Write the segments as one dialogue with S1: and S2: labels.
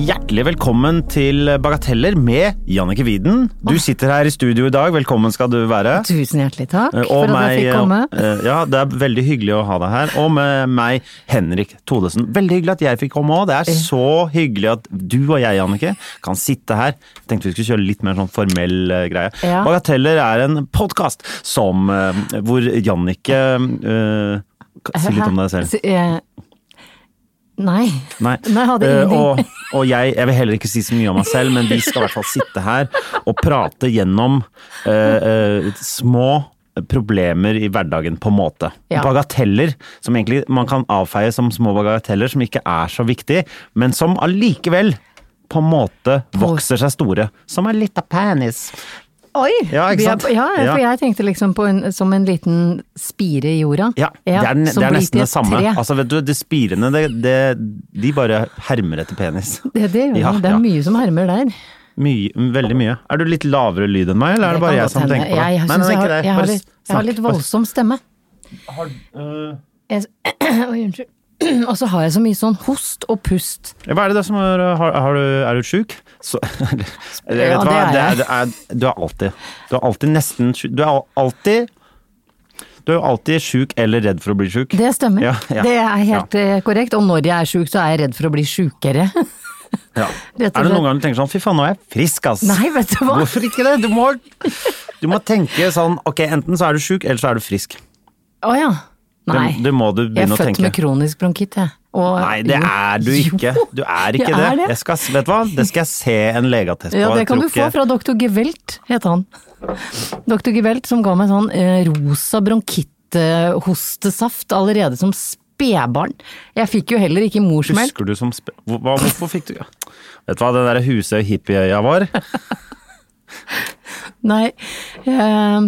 S1: Hjertelig velkommen til Bagateller med Jannicke Widen. Du sitter her i studio i dag, velkommen skal du være.
S2: Tusen hjertelig takk
S1: Eh,
S2: for at jeg fikk komme.
S1: eh, Ja, det er veldig hyggelig å ha deg her. Og med meg, Henrik Thodesen. Veldig hyggelig at jeg fikk komme òg. Det
S2: Eh.
S1: er så hyggelig at du og jeg, Jannicke, kan sitte her. Tenkte vi skulle kjøre litt mer sånn formell eh, greie.
S2: Ja.
S1: Bagateller er en podkast som eh, Hvor Jannicke eh, Si litt om deg selv.
S2: Så, eh, Nei.
S1: Nei.
S2: Nei, jeg hadde
S1: Eh,
S2: ingenting.
S1: og, og jeg, jeg vil heller ikke si så mye om meg selv, men vi skal i hvert fall sitte her og prate gjennom eh, eh, små problemer i hverdagen på en måte.
S2: Ja.
S1: Bagateller som egentlig man kan avfeie som små bagateller som ikke er så viktig, men som allikevel på en måte vokser seg store. Som en lita penis.
S2: Oi!
S1: Ja, ikke
S2: vi er-
S1: sant?
S2: Ja,
S1: Ja.
S2: for jeg tenkte liksom på en, som en liten spire i jorda.
S1: Ja, det er, ne-
S2: som
S1: det er
S2: blir
S1: nesten
S2: til
S1: det
S2: et
S1: samme.
S2: tre.
S1: Altså, vet du, det spirende, det, det, de bare hermer etter penis.
S2: det, det, gjør
S1: Ja,
S2: det. det er
S1: ja.
S2: mye som hermer der.
S1: Mye, veldig mye. Er du litt lavere lyd enn meg, eller er det
S2: kan
S1: bare jeg
S2: godt
S1: som
S2: hende.
S1: tenker på det?
S2: Jeg, jeg,
S1: Nei,
S2: synes
S1: nei,
S2: jeg,
S1: ikke
S2: har,
S1: det.
S2: jeg, har
S1: Bare
S2: litt, jeg har
S1: snakk.
S2: litt voldsom stemme. Jeg, oi, unnskyld. Og så har jeg så mye sånn host og pust.
S1: Bare- Hva er det da som er øh, har, har du, Er du sjuk? Så, eller, vet du
S2: det
S1: hva?
S2: er
S1: Det er,
S2: jeg.
S1: det er, du er alltid Du er alltid nesten sjuk. Du er al- alltid Du er jo alltid sjuk eller redd for å bli sjuk.
S2: Det stemmer.
S1: Ja, ja.
S2: Det er helt eh, korrekt. Og når jeg er sjuk, så er jeg redd for å bli sjukere.
S1: Ja. Er
S2: Rett og
S1: det noen
S2: slett.
S1: ganger du tenker sånn Fy faen, nå er jeg frisk, ass.
S2: Nei, vet du hva.
S1: Hvorfor ikke det? Du må, du må tenke sånn Ok, enten så er du sjuk, eller så er du frisk.
S2: Å ja. Nei.
S1: Det, det må du
S2: Jeg
S1: begynne
S2: er
S1: å tenke.
S2: født med kronisk bronkitt, jeg. Og-
S1: Nei, det
S2: Jo.
S1: er du ikke.
S2: Jo.
S1: Du er ikke
S2: Jeg
S1: det.
S2: er det.
S1: Jeg skal, vet du hva? Det skal jeg se en legeattest på.
S2: Ja, det
S1: Jeg
S2: kan
S1: tror
S2: du få
S1: ikke-
S2: fra doktor Gevelt, het han. Doktor Gevelt som ga meg sånn eh, rosa bronkitthostesaft allerede som spedbarn. Jeg fikk jo heller ikke morsmelk.
S1: Husker du som sp Hvor- hva, Hvorfor fikk du Vet du hva, det derre huset hippieøya var?
S2: Nei. Eh,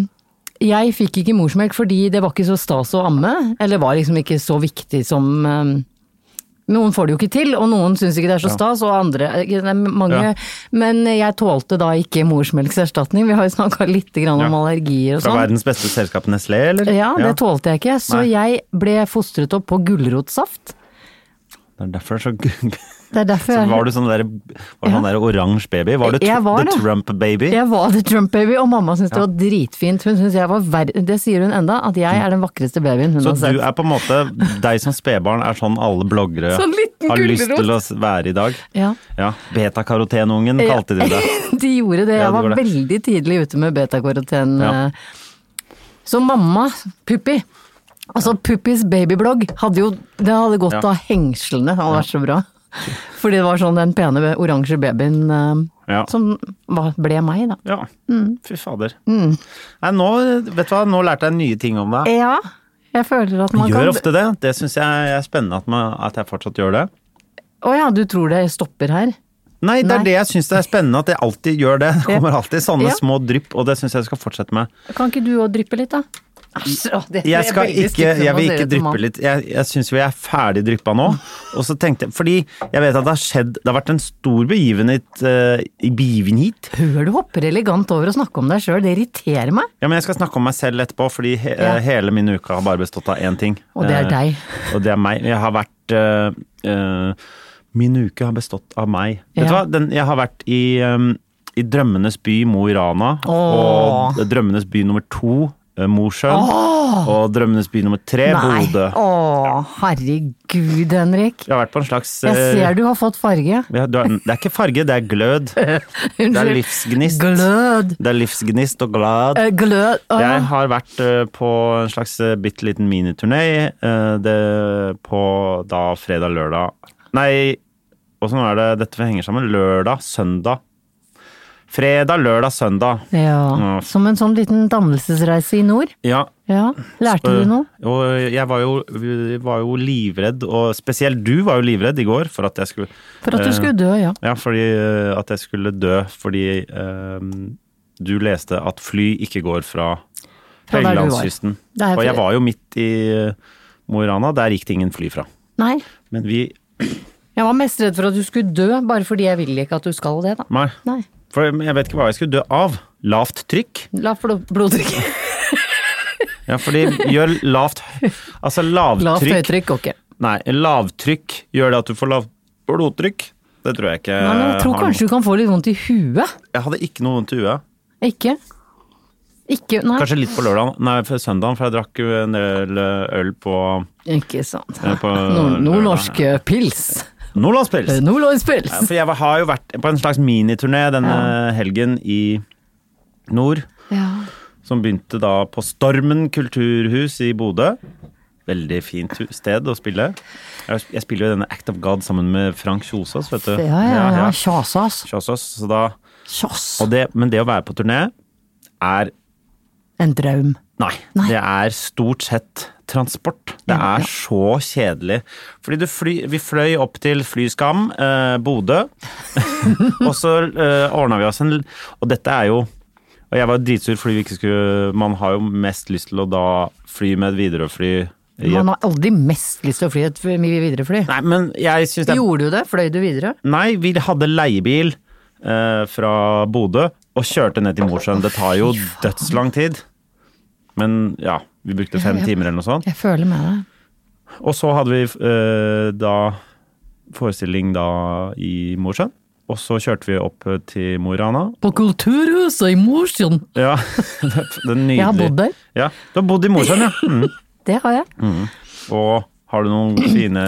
S2: jeg fikk ikke morsmelk fordi det var ikke så stas å amme. Eller var liksom ikke så viktig som eh, Noen får det jo ikke til, og noen syns ikke det er så stas, og andre eh, det er mange,
S1: Ja.
S2: Men jeg tålte da ikke morsmelkserstatning. Vi har jo snakka litt grann om
S1: Ja.
S2: allergier og
S1: Fra
S2: sånn.
S1: verdens beste selskap, Nestlé, eller?
S2: Ja, det tålte jeg ikke, så
S1: Nei.
S2: jeg ble fostret opp på gulrotsaft.
S1: Det er derfor så gu-
S2: Det er derfor
S1: Så
S2: jeg
S1: var du sånn derre var
S2: Ja.
S1: sånn der oransje baby? Var du tr-
S2: Jeg var
S1: the
S2: det.
S1: Trump baby?
S2: jeg var the Trump baby, og mamma syntes det var dritfint. Hun synes jeg var ver Det sier hun enda, at jeg er den vakreste babyen hun
S1: Mm. Så
S2: har sett.
S1: du er på en måte Deg som spedbarn er sånn alle bloggere
S2: Sånn liten
S1: har lyst
S2: gulrot.
S1: til å s- være i dag?
S2: Ja.
S1: Ja. Betakarotenungen
S2: Ja.
S1: kalte de det.
S2: De gjorde det.
S1: Ja, de
S2: Jeg var
S1: gjorde det.
S2: veldig tidlig ute med betakaroten.
S1: Ja.
S2: eh. Så mamma, Puppi Altså Puppis babyblogg hadde jo Det hadde gått
S1: Ja.
S2: av hengslene, det hadde vært så bra. Fordi det var sånn den pene oransje babyen eh,
S1: Ja.
S2: som var, ble meg, da.
S1: Ja.
S2: Mm.
S1: Fy fader. Nei, nå, vet du hva, nå lærte jeg nye ting om deg.
S2: Ja, jeg føler at Eh, man
S1: Gjør
S2: kan
S1: ofte det. Det syns jeg er spennende at, man, at jeg fortsatt gjør det.
S2: Å ja, du tror det stopper her?
S1: Nei, det
S2: Nei.
S1: er det jeg syns er spennende, at jeg alltid gjør det. Det kommer alltid sånne
S2: Ja.
S1: små drypp, og det syns jeg skal fortsette med.
S2: Kan ikke du òg dryppe litt, da? Æsj, å, det
S1: Jeg,
S2: Altså, er
S1: skal
S2: veldig
S1: ikke,
S2: stygt når
S1: jeg
S2: man
S1: vil
S2: ser
S1: ikke
S2: ut som
S1: dryppe
S2: mann.
S1: litt. Jeg, jeg syns vi er ferdig dryppa nå. Og så tenkte jeg, fordi jeg vet at det har skjedd Det har vært en stor begivenhet eh, i begivenhet.
S2: Hør du hopper elegant over å snakke om deg sjøl, det irriterer meg.
S1: Ja, men jeg skal snakke om meg selv etterpå, fordi he eh,
S2: Ja.
S1: hele min uke har bare bestått av én ting.
S2: Og det er
S1: Eh,
S2: deg.
S1: Og det er meg. Jeg har vært eh, eh, Min uke har bestått av meg. Vet du hva?
S2: Ja.
S1: Den, jeg har vært i, eh, i Drømmenes by Mo i Rana.
S2: Åh.
S1: Og Drømmenes by nummer to, eh, Mosjøen. Og Drømmenes by nummer tre,
S2: Nei.
S1: Bodø.
S2: Å, herregud, Henrik.
S1: Jeg har vært på en slags
S2: Jeg
S1: eh,
S2: ser du har fått farge.
S1: ja, du er, Det er ikke farge, det er glød. Det er livsgnist.
S2: Glød.
S1: Det er livsgnist og glad.
S2: Eh, Glød. Å,
S1: Jeg har vært eh, på en slags eh, bitte liten miniturné eh, det- på da fredag-lørdag Nei, åssen er det dette henger sammen? Lørdag, søndag, Fredag, lørdag, søndag.
S2: Ja. Som en sånn liten dannelsesreise i nord.
S1: Ja.
S2: Ja. Lærte du noe?
S1: Eh, Og jeg var jo, var jo livredd, og spesielt du var jo livredd i går for at jeg skulle
S2: For at
S1: eh,
S2: du skulle dø, ja.
S1: Ja, fordi eh, at jeg skulle dø fordi eh, du leste at fly ikke går fra
S2: Fra der du var.
S1: Helgelandskysten.
S2: Det er
S1: Og jeg
S2: fra-
S1: var jo midt i eh, Mo i Rana, der gikk det ingen fly fra.
S2: Nei.
S1: Men vi
S2: Jeg var mest redd for at du skulle dø, bare fordi jeg vil ikke at du skal det, da.
S1: Nei.
S2: Nei.
S1: For jeg vet ikke hva jeg skulle dø av. Lavt trykk.
S2: La blod- blodtrykket
S1: Ja, fordi gjør lavt Altså lavtrykk
S2: Lavt høytrykk går ikke.
S1: Nei, lavtrykk gjør det at du får lavt blodtrykk. Det tror jeg ikke.
S2: Nei, men jeg tror
S1: har noe-
S2: kanskje du kan få litt vondt i huet.
S1: Jeg hadde ikke noe vondt i huet.
S2: Ikke? Ikke Nei.
S1: Kanskje litt på lørdagen, nei, for søndagen, for jeg drakk jo en del eh, øl på
S2: Ikke sant.
S1: Ja, på-
S2: Nord- Nordnorsk eh, pils.
S1: Nordlandspils.
S2: Eh,
S1: Ja,
S2: Nordlandspils.
S1: For jeg var- har jo vært på en slags miniturné denne helgen i nord,
S2: Ja.
S1: som begynte da på Stormen kulturhus i Bodø. Veldig fint hu- sted å spille. Jeg jeg spiller jo i denne Act of God sammen med Frank Kjosås, vet du.
S2: Ja, ja, ja. Kjasas.
S1: Kjosås, så da,
S2: Kjass.
S1: og det, men det å være på turné er
S2: En draum.
S1: Nei,
S2: Nei.
S1: det er stort sett transport. Det
S2: Ja,
S1: er
S2: ja.
S1: så kjedelig. Fordi du fly, vi fløy opp til Flyskam, eh, Bodø, og så eh, ordna vi oss en l- Og dette er jo Og jeg var dritsur fordi vi ikke skulle Man har jo mest lyst til å da fly med et Widerøe-fly. i et-
S2: Man har aldri mest lyst til å fly et mye videre fly.
S1: Nei, men jeg syns det er
S2: Gjorde du det? Fløy du videre?
S1: Nei, vi hadde leiebil eh, fra Bodø og kjørte ned til Mosjøen. Det tar jo dødslang tid. Men ja, vi brukte fem
S2: ja.
S1: timer eller noe sånt.
S2: Jeg føler med deg.
S1: Og så hadde vi eh, da forestilling da i Mosjøen. Og så kjørte vi opp eh, til Mo i Rana.
S2: På Kulturhuset i Mosjøen.
S1: Ja, den nydelige
S2: Jeg har bodd der.
S1: Ja, du har bodd i Mosjøen, ja. Mm.
S2: Det har jeg.
S1: Og har du noen fine,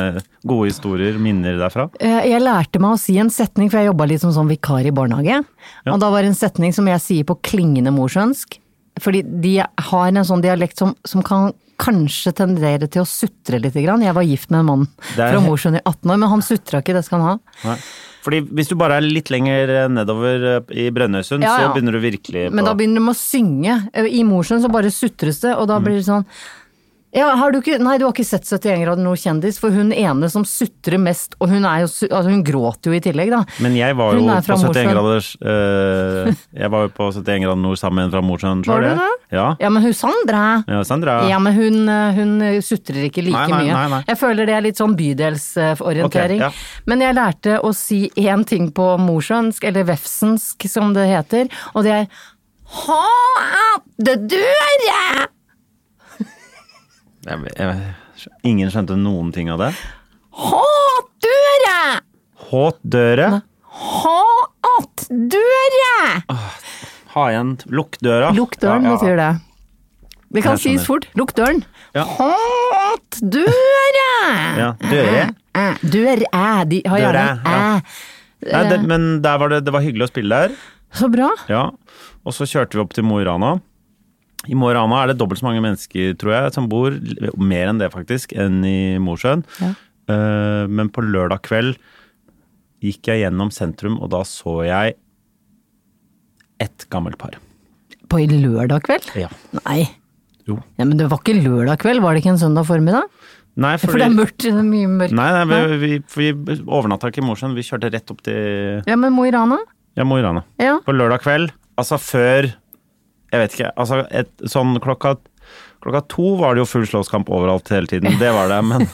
S1: gode historier, minner derfra?
S2: Eh, Jeg lærte meg å si en setning, for jeg jobba litt som sånn vikar i barnehage. Og da var det en setning som jeg sier på klingende morsønsk. Fordi de har en sånn dialekt som, som kan kanskje tendere til å sutre litt. Grann. Jeg var gift med en mann
S1: Det er-
S2: fra Mosjøen i 18 år, men han sutra ikke, det skal han ha.
S1: Nei. Fordi hvis du bare er litt lenger nedover eh, i Brønnøysund,
S2: Ja, ja.
S1: så begynner du virkelig på
S2: Men da begynner de å synge. Eh, I Mosjøen så bare sutres det, og da
S1: Mm.
S2: blir det sånn ja, har du ikke, nei, du har ikke sett 71 grader nord kjendis, for hun ene som sutrer mest, og hun, er jo, su- altså hun gråter jo i tillegg, da.
S1: Men jeg var jo
S2: Hun er
S1: på
S2: fra
S1: 71
S2: Mosjøen.
S1: graders eh, Jeg var jo på 71 grader nord sammen med en fra Mosjøen.
S2: Var du
S1: selv, jeg.
S2: det?
S1: Ja.
S2: Ja, men hun Sandra
S1: ja. Sandra.
S2: Ja, men hun, eh, hun sutrer ikke like
S1: Nei, nei,
S2: mye.
S1: nei, nei.
S2: Jeg føler det er litt sånn bydelsorientering.
S1: Ok, ja.
S2: Men jeg lærte å si én ting på morsønsk, eller vefsensk som det heter, og det er Hå opp det døra!
S1: Jeg, jeg, ingen skjønte noen ting av det.
S2: Hå opp døra!
S1: Håt døra.
S2: Hå opp døra!
S1: Ha igjen. Lukk døra.
S2: Lukk døren, betyr det. Det kan
S1: Jeg skjønner.
S2: sies fort. Lukk døren.
S1: Ja.
S2: Hå opp døra!
S1: Ja, døre.
S2: Æ, Eh, Dør æ. De har gjerne
S1: Dør æ, ja.
S2: æ.
S1: Nei, det, men der var det, det var hyggelig å spille der.
S2: Så bra.
S1: Ja. Og så kjørte vi opp til Mo i Rana. I Mo i Rana er det dobbelt så mange mennesker tror jeg, som bor, mer enn det faktisk, enn i Mosjøen.
S2: Ja.
S1: Eh, men på lørdag kveld gikk jeg gjennom sentrum, og da så jeg ett gammelt par.
S2: På i lørdag kveld?
S1: Ja.
S2: Nei.
S1: Jo.
S2: Ja, men det var ikke lørdag kveld, var det ikke en søndag formiddag?
S1: Nei,
S2: For det
S1: fordi,
S2: er mørkt, det er mye mørkt.
S1: nei, nei, vi, vi, for vi overnatta ikke i Mosjøen, vi kjørte rett opp til
S2: Ja, men Mo i Rana?
S1: ja, Mo i Rana.
S2: Ja.
S1: På lørdag kveld, altså før Jeg vet ikke, altså et, sånn klokka Klokka to var det jo full slåsskamp overalt hele tiden, det var det, men,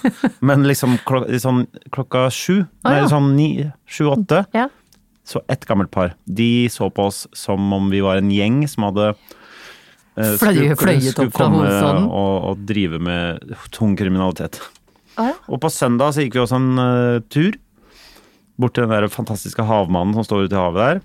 S1: men liksom klok, sånn, klokka sju,
S2: Ah, ja.
S1: nei sånn ni, sju-åtte,
S2: Ja.
S1: så ett gammelt par. De så på oss som om vi var en gjeng som hadde eh,
S2: Fløy- fløyet opp fra
S1: komme
S2: hovedstaden.
S1: og, og drive med tung kriminalitet.
S2: Ah, ja.
S1: Og på søndag så gikk vi også en eh, tur bort til den der fantastiske havmannen som står ute i havet der.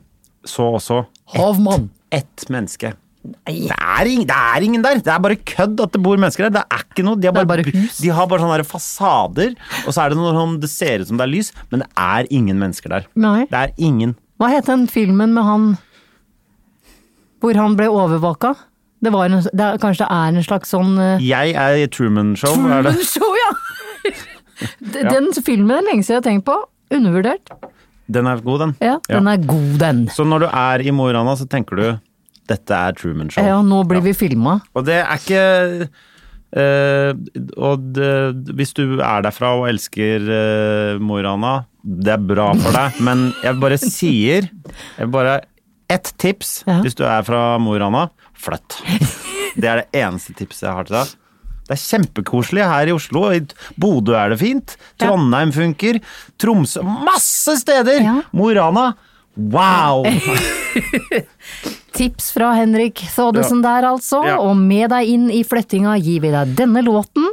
S1: Så også
S2: Havmann!
S1: ett menneske. Det er, ing, det er ingen der! Det er bare kødd at det bor mennesker der. Det er ikke noe. De har
S2: Det er
S1: bare,
S2: bare hus.
S1: De har bare sånne der fasader, og så er det noe sånn Det ser ut som det er lys, men det er ingen mennesker der.
S2: Nei.
S1: Det er ingen.
S2: Hva het den filmen med han hvor han ble overvåka? Det var en, det er, kanskje det er en slags sånn eh,
S1: Jeg er i Truman Show. Er det?
S2: Show, ja! Den filmen er lenge siden jeg har tenkt på. Undervurdert.
S1: Den er god, den.
S2: Ja, den er god, den.
S1: Så når du er i Mo i Rana, så tenker du dette er Truman Show.
S2: Ja, nå blir vi filma.
S1: Og det er ikke eh, Og det, hvis du er derfra og elsker uh, Mo i Rana, det er bra for deg, men jeg bare sier jeg bare Ett tips
S2: Ja.
S1: hvis du er fra Mo i Rana flytt. Det er det eneste tipset jeg har til deg. Det er kjempekoselig her i Oslo. I Bodø er det fint. Trondheim funker. Tromsø Masse steder!
S2: Ja.
S1: Mo i Rana wow!
S2: Tips fra Henrik Thodesen der, altså.
S1: Ja.
S2: Og med deg inn i flettinga gir vi deg denne låten.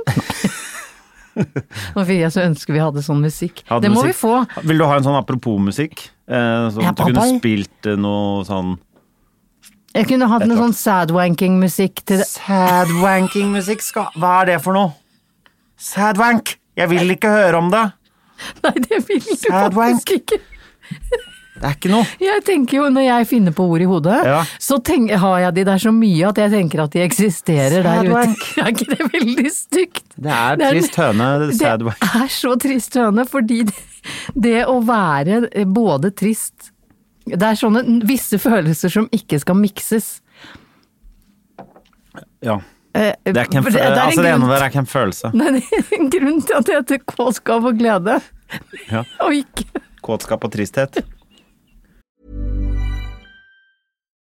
S2: Nå fikk jeg så ønske vi hadde sånn musikk.
S1: Hadde
S2: det må
S1: musikk.
S2: vi få.
S1: Vil du ha en sånn apropos-musikk? Eh, sånn
S2: Ja,
S1: at du kunne
S2: pappa.
S1: spilt eh, noe sånn
S2: Jeg kunne hatt noe
S1: klart.
S2: sånn sadwanking-musikk til det.
S1: Sadwanking-musikk? Hva er det for noe? Sadwank! Jeg vil ikke høre om det!
S2: Nei, det vil du
S1: Sadwank.
S2: faktisk ikke.
S1: Det er ikke noe.
S2: Jeg tenker jo, når jeg finner på ord i hodet,
S1: Ja.
S2: så tenk, har jeg de der så mye at jeg tenker at de eksisterer der
S1: Sadwank.
S2: ute. Er ikke det veldig stygt?
S1: Det er
S2: en-
S1: trist høne, sadwank.
S2: Det er så trist høne, fordi det, det å være eh, både trist Det er sånne visse følelser som ikke skal mikses.
S1: Ja.
S2: Eh,
S1: Det er ikke en,
S2: for det er
S1: eh,
S2: en
S1: altså, det ene
S2: grunn-
S1: der er ikke en følelse.
S2: Nei, det er en grunn til at det heter kåtskap og glede,
S1: Ja.
S2: og ikke
S1: Kåtskap og tristhet.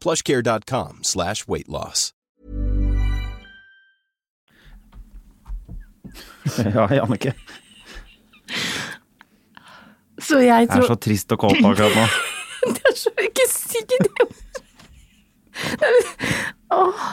S3: plushcare.com slash weight loss.
S1: Ja, Jannicke.
S2: Så jeg
S1: Jeg er
S2: tror
S1: så trist og kåt akkurat nå.
S2: Det er så ikke sikkert Åh.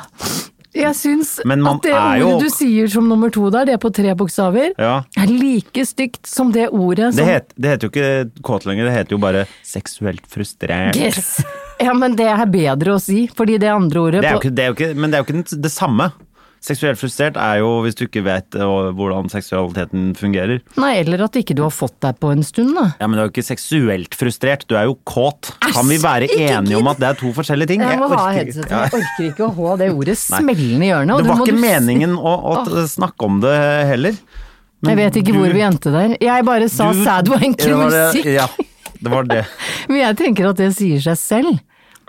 S2: Jeg syns
S1: Men man
S2: at det
S1: er
S2: ordet
S1: jo-
S2: du sier som nummer to der, det på tre bokstaver,
S1: Ja.
S2: er like stygt som det ordet
S1: Det,
S2: som
S1: het, det heter jo ikke kåt lenger, det heter jo bare seksuelt frustrert.
S2: Yes. Ja, men det er bedre å si, fordi det andre ordet
S1: Det er jo
S2: på-
S1: ikke, det er jo ikke, men det er jo ikke den- det samme. Seksuelt frustrert er jo hvis du ikke vet eh, hvordan seksualiteten fungerer.
S2: Nei, eller at ikke du har fått deg på en stund, da.
S1: Ja, Men du er jo ikke seksuelt frustrert, du er jo kåt. Kan vi være
S2: ikke
S1: enige om
S2: gidd.
S1: at det er to forskjellige ting?
S2: Jeg må ha
S1: orker ikke.
S2: headsetet,
S1: Ja.
S2: jeg orker ikke å ha det ordet smellende i hjørnet. og
S1: Det
S2: det
S1: var ikke
S2: må du si.
S1: meningen å, å t- snakke om det heller.
S2: Jeg vet ikke hvor vi endte der. Jeg bare sa
S1: Du-
S2: sadwanking
S1: Det var det-
S2: musikk.
S1: Ja, det var det.
S2: Men jeg tenker at det sier seg selv.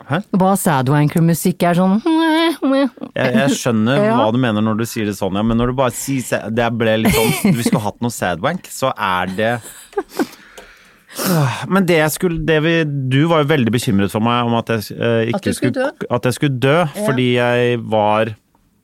S1: Hæ?
S2: Hva sadwanker-musikk er sånn
S1: Jeg, jeg skjønner
S2: Ja.
S1: hva du mener når du sier det sånn, ja, men når du bare sier sa- Det ble litt sånn Vi skulle hatt noe sadwank, så er det Ah, Men det jeg skulle det vi, Du var jo veldig bekymret for meg om at jeg eh, ikke
S2: At du skulle dø?
S1: At jeg skulle dø, fordi jeg var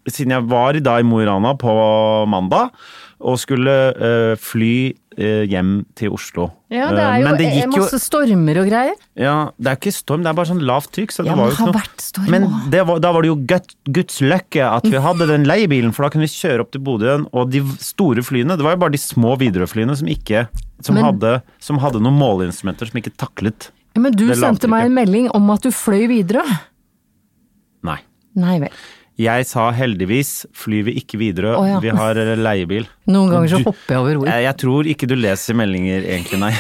S1: Siden jeg var i dag i Mo i Rana på mandag og skulle eh, fly eh, hjem til Oslo.
S2: Ja, det
S1: Eh,
S2: er jo
S1: men det gikk jo
S2: masse stormer og greier.
S1: Ja, det er ikke storm, det er bare sånn lavt trykk. Så det
S2: Ja,
S1: var
S2: men
S1: jo
S2: det
S1: ikke
S2: har
S1: noe.
S2: vært storm
S1: men
S2: også.
S1: det var, da var det jo gutt, guds løkke at vi hadde den leiebilen, for da kunne vi kjøre opp til Bodø igjen. Og de store flyene, det var jo bare de små Widerøe-flyene som ikke som,
S2: Men-
S1: hadde, som hadde noen måleinstrumenter som ikke taklet
S2: Men du
S1: Det
S2: sendte meg
S1: lavtrykket.
S2: en melding om at du fløy videre.
S1: Nei.
S2: Nei vel.
S1: Jeg sa heldigvis flyr vi ikke Widerøe,
S2: Å, ja.
S1: vi har eh, leiebil.
S2: Noen ganger så
S1: Du-
S2: hopper jeg over ord.
S1: Jeg, jeg tror ikke du leser meldinger egentlig, nei.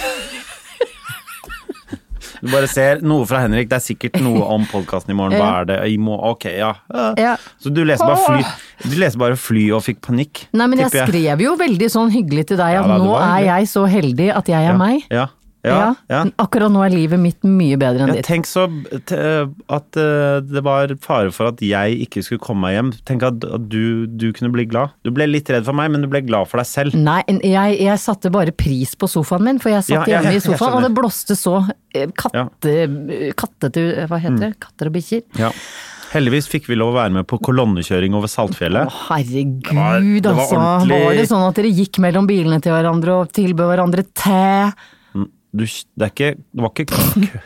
S1: Du bare ser noe fra Henrik, det er sikkert noe om podkasten i morgen. Hva er det? I må, ok, ja.
S2: Ja.
S1: Så du leser bare fly, du leser bare fly og fikk panikk,
S2: Nei, men jeg
S1: tipper
S2: skrev jo veldig sånn hyggelig til deg
S1: Ja
S2: at
S1: da, det
S2: nå
S1: var
S2: er
S1: hyggelig.
S2: jeg så heldig at jeg er meg.
S1: Ja. Ja, ja.
S2: Men Akkurat nå er livet mitt mye bedre enn
S1: Ja,
S2: ditt.
S1: tenk så t at eh, det var fare for at jeg ikke skulle komme meg hjem. Tenk at, at du, du kunne bli glad. Du ble litt redd for meg, men du ble glad for deg selv.
S2: Nei, en- jeg, jeg satte bare pris på sofaen min, for jeg satt
S1: Ja, ja,
S2: hjemme i
S1: jeg
S2: sofaen, og
S1: skjønner.
S2: det blåste så eh, katte... Kattete... Hva
S1: Mm.
S2: heter det? Katter og bikkjer?
S1: Ja. Heldigvis fikk vi lov å være med på kolonnekjøring over
S2: Å,
S1: Saltfjellet.
S2: herregud,
S1: var- det var
S2: altså.
S1: ordentlig-
S2: Var det sånn at dere gikk mellom bilene til hverandre og tilbød hverandre te?
S1: Du, det, er ikke, det var ikke kø.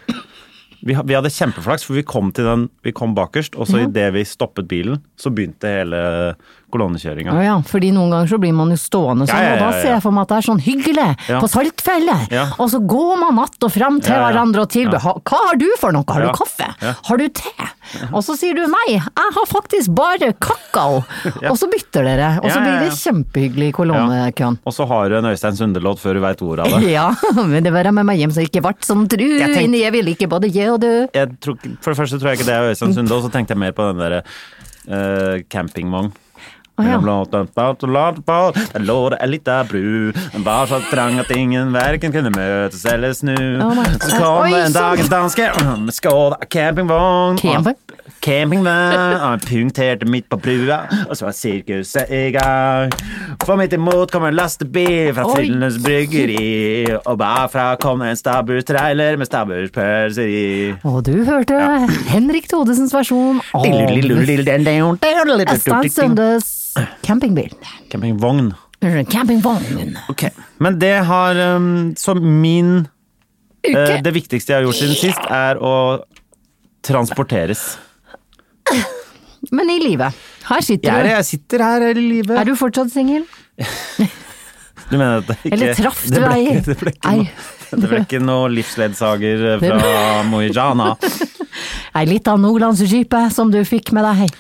S1: Vi, ha- vi hadde kjempeflaks, for vi kom, til den, vi kom bakerst, og så i idet vi stoppet bilen, så begynte hele
S2: Ja.
S1: kolonnekjøringa.
S2: ja, fordi noen ganger så blir man jo stående sånn,
S1: Ja, ja, ja,
S2: og da
S1: ja.
S2: ser jeg for meg at det er sånn hyggelig
S1: Ja.
S2: på Saltfjellet.
S1: Ja.
S2: Og så går man att og fram til
S1: Ja, ja.
S2: hverandre og tilbyr
S1: Ja.
S2: «Ha- Hva har du for noe? Har
S1: Ja.
S2: du kaffe?
S1: Ja.
S2: Har du te? Og så sier du nei, jeg har faktisk bare kakao. Og så bytter dere, og
S1: Ja,
S2: så
S1: ja,
S2: blir
S1: ja.
S2: det sånn, eh, kjempehyggelig i kolonnekøen.
S1: Og så har du en Øystein Sunde-låt før du veit ordet av det.
S2: Ja, men det var jeg med meg hjem så jeg ikke vart som tru,
S1: Jeg tenkte-
S2: inni jeg ville ikke både je og dø.
S1: jeg tror, ikke- for det første tror jeg ikke det er Øystein Sunde, og så tenkte jeg mer på den derre uh, campingvogn.
S2: ja.
S1: Der lå det ei lita bru, den var så trang at ingen verken kunne møtes eller snu.
S2: Oh my-
S1: så kom
S2: Oi,
S1: det en dag en
S2: sant.
S1: danske med skål av campingvogn.
S2: Camping-
S1: Og- Campingvogn, og han punkterte midt på brua, og så var sirkuset i gang. For midt imot kom en lastebil fra
S2: Oi.
S1: Frillendes bryggeri, og bakfra kom en stabburstrailer med stabburspølser i.
S2: Og du hørte Henrik Thodesens versjon av Øystein Sundes campingbil.
S1: Campingvogn.
S2: Campingvogn.
S1: Ok. Men det har um, Så min eh, Det viktigste jeg har gjort siden sist, er å transporteres.
S2: Men i livet. Her sitter
S1: Jeg, er,
S2: du.
S1: jeg sitter her hele livet.
S2: Er du fortsatt singel?
S1: Du mener at det ikke
S2: Eller traff du
S1: det ble,
S2: ei?
S1: ikke- det ble ikke
S2: Ei.
S1: noe- Det ble ikke noe livsledsager eh, fra Mo i Rana.
S2: Ei lita nordlandsrype som du fikk med deg.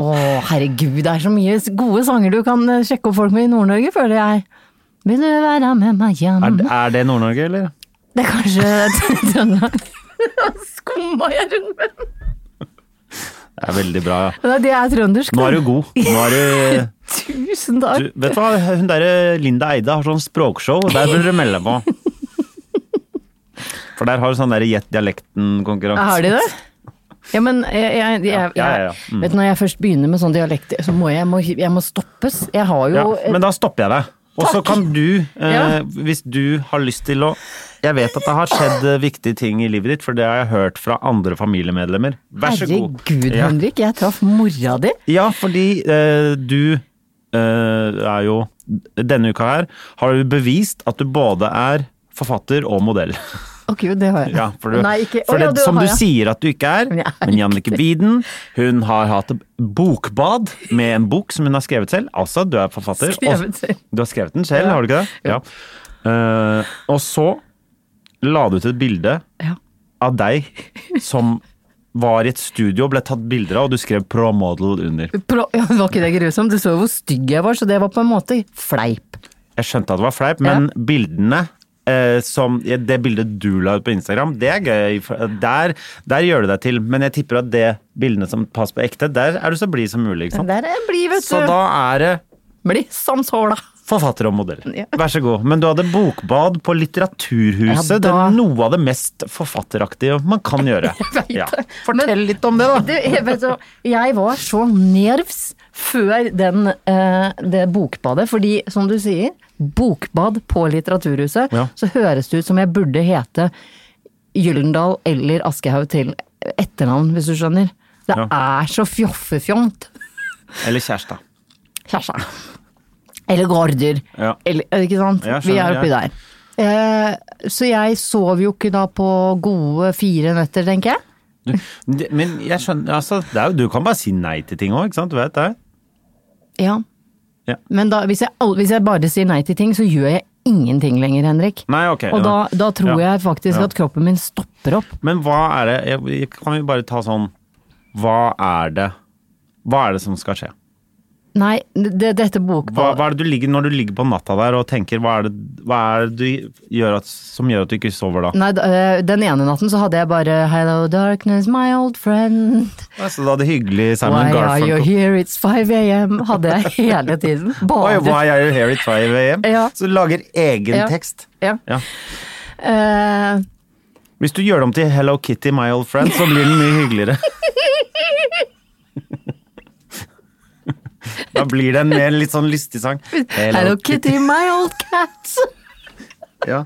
S2: Å, herregud, det er så mye s- gode sanger du kan eh, sjekke opp folk med i Nord-Norge, føler jeg. Vil du være med meg hjem?
S1: Er, er det Nord-Norge, eller?
S2: Det er kanskje Trøndelag. Skumma jeg rundt med.
S1: Det er veldig bra, ja.
S2: Nei, Det er trøndersk.
S1: Nå
S2: da.
S1: er du god. Nå er du
S2: Tusen takk.
S1: Du, vet du hva, hun der Linda Eide har sånn språkshow, og der burde du melde deg på. For der har du sånn der gjett dialekten-konkurranse.
S2: Har de det? Ja, men jeg, jeg, jeg, jeg,
S1: ja, ja, Mm. ja.
S2: Vet du, når jeg først begynner med sånn dialekt, så må jeg, jeg, må, jeg må stoppes. Jeg har
S1: Ja,
S2: jo et-
S1: men da stopper jeg deg. Og så
S2: Takk.
S1: kan du, eh,
S2: Ja.
S1: hvis du har lyst til å Jeg vet at det har skjedd eh, viktige ting i livet ditt, for det har jeg hørt fra andre familiemedlemmer. Vær så god.
S2: Herregud,
S1: ja.
S2: Henrik, jeg traff mora di.
S1: ja, fordi eh, du eh, er jo Denne uka her har du bevist at du både er forfatter og modell.
S2: Ok, jo, det har jeg.
S1: Ja, for, du,
S2: Nei, ikke,
S1: for
S2: Å, ja,
S1: det, som
S2: har
S1: du
S2: jeg.
S1: sier at du ikke er,
S2: Men jeg er
S1: men Jannicke Wieden, hun har hatt bokbad med en bok som hun har skrevet selv. Altså, du er forfatter.
S2: Skrevet selv.
S1: Og, du har skrevet den selv, har du ikke det? Ja. Eh, og så la du ut et bilde
S2: Ja.
S1: av deg som var i et studio og ble tatt bilder av, og du skrev 'pro model' under.
S2: Pro- Ja, var ikke det grusomt? Du så jo hvor stygg jeg var, så det var på en måte fleip.
S1: Jeg skjønte at det var fleip, men bildene eh, som, det bildet du la ut på Instagram, det er gøy. for Der, der gjør du deg til. Men jeg tipper at det bildene som passer på ekte, der er du så blid som mulig. Ikke sant?
S2: Der er blid, vet
S1: Så
S2: du.
S1: da er det
S2: Blissamshåla.
S1: forfatter og modell.
S2: Ja.
S1: Vær så god. Men du hadde bokbad på Litteraturhuset.
S2: Ja, da-
S1: Det er noe av det mest forfatteraktige man kan gjøre.
S2: vet det.
S1: Ja. Fortell litt om det,
S2: Du,
S1: da.
S2: jeg, vet, du, jeg var så nervs før den, eh, det bokbadet, fordi som du sier, bokbad på Litteraturhuset,
S1: Ja.
S2: så høres det ut som jeg burde hete Gyllendal eller Aschehoug til etternavn, hvis du skjønner. Det
S1: Ja.
S2: er så fjoffefjongt.
S1: Eller kjæreste.
S2: Kjæreste. Eller garder.
S1: Ja.
S2: Eller, ikke sant?
S1: Ja, jeg
S2: Vi er
S1: skjønner,
S2: oppi
S1: ja.
S2: der. Eh, så jeg sov jo ikke da på gode fire nøtter, tenker jeg.
S1: Du, det- men jeg skjønner altså, det er jo, Du kan bare si nei til ting òg, ikke sant? Du vet det?
S2: Ja.
S1: Ja.
S2: Men da, hvis, jeg, al- hvis jeg bare sier nei til ting, så gjør jeg ingenting lenger, Henrik.
S1: Nei, ok.
S2: Og da,
S1: Mm. ja.
S2: da tror
S1: Ja.
S2: jeg faktisk
S1: Ja.
S2: at kroppen min stopper opp.
S1: Men hva er det jeg- jeg- Kan vi bare ta sånn Hva er det Hva er det som skal skje?
S2: Nei, det, dette
S1: Hva,
S2: bokbadet
S1: hva er det du ligger når du ligger på natta der og tenker Hva er det, hva er det du gjør at, som gjør at du ikke sover da?
S2: Nei, da, eh, den ene natten så hadde jeg bare Hello darkness, my old friend.
S1: Altså, du hadde hyggelig Simon
S2: Why are you
S1: Garfunkel.
S2: here, it's 5 am. Hadde jeg hele tiden.
S1: Oi,
S2: Badet.
S1: why are you here at 5 a.m.?
S2: Ja.
S1: Så du lager egen
S2: Ja.
S1: tekst.
S2: Ja.
S1: Ja.
S2: Eh,
S1: Hvis du gjør det om til Hello Kitty, my old friend, så blir den mye hyggeligere. Da blir det en mer litt sånn lystig sang. Hello,
S2: Hello Kitty, my old cat.
S1: Ja.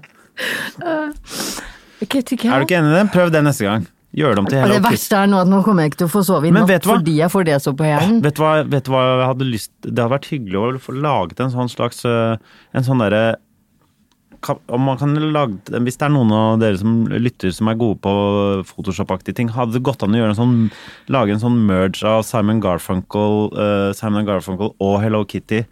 S2: Kitty cat.
S1: Er du ikke enig i det? Prøv det neste gang. Gjør det om til
S2: Og
S1: Hello
S2: det
S1: Kitty.
S2: verste er nå at nå kommer jeg ikke til å få sove i
S1: Men
S2: natt
S1: vet du hva?
S2: fordi jeg får det så på hjernen.
S1: Vet du, hva, vet du hva jeg hadde lyst Det hadde vært hyggelig å få laget en sånn slags øh, En sånn derre kan- om man kan lage, Hvis det er noen av dere som lytter som er gode på Photoshop-aktige ting, hadde det gått an å gjøre en sånn, lage en sånn merge av Simon Garfunkel, øh, Simon Garfunkel og Hello Kitty?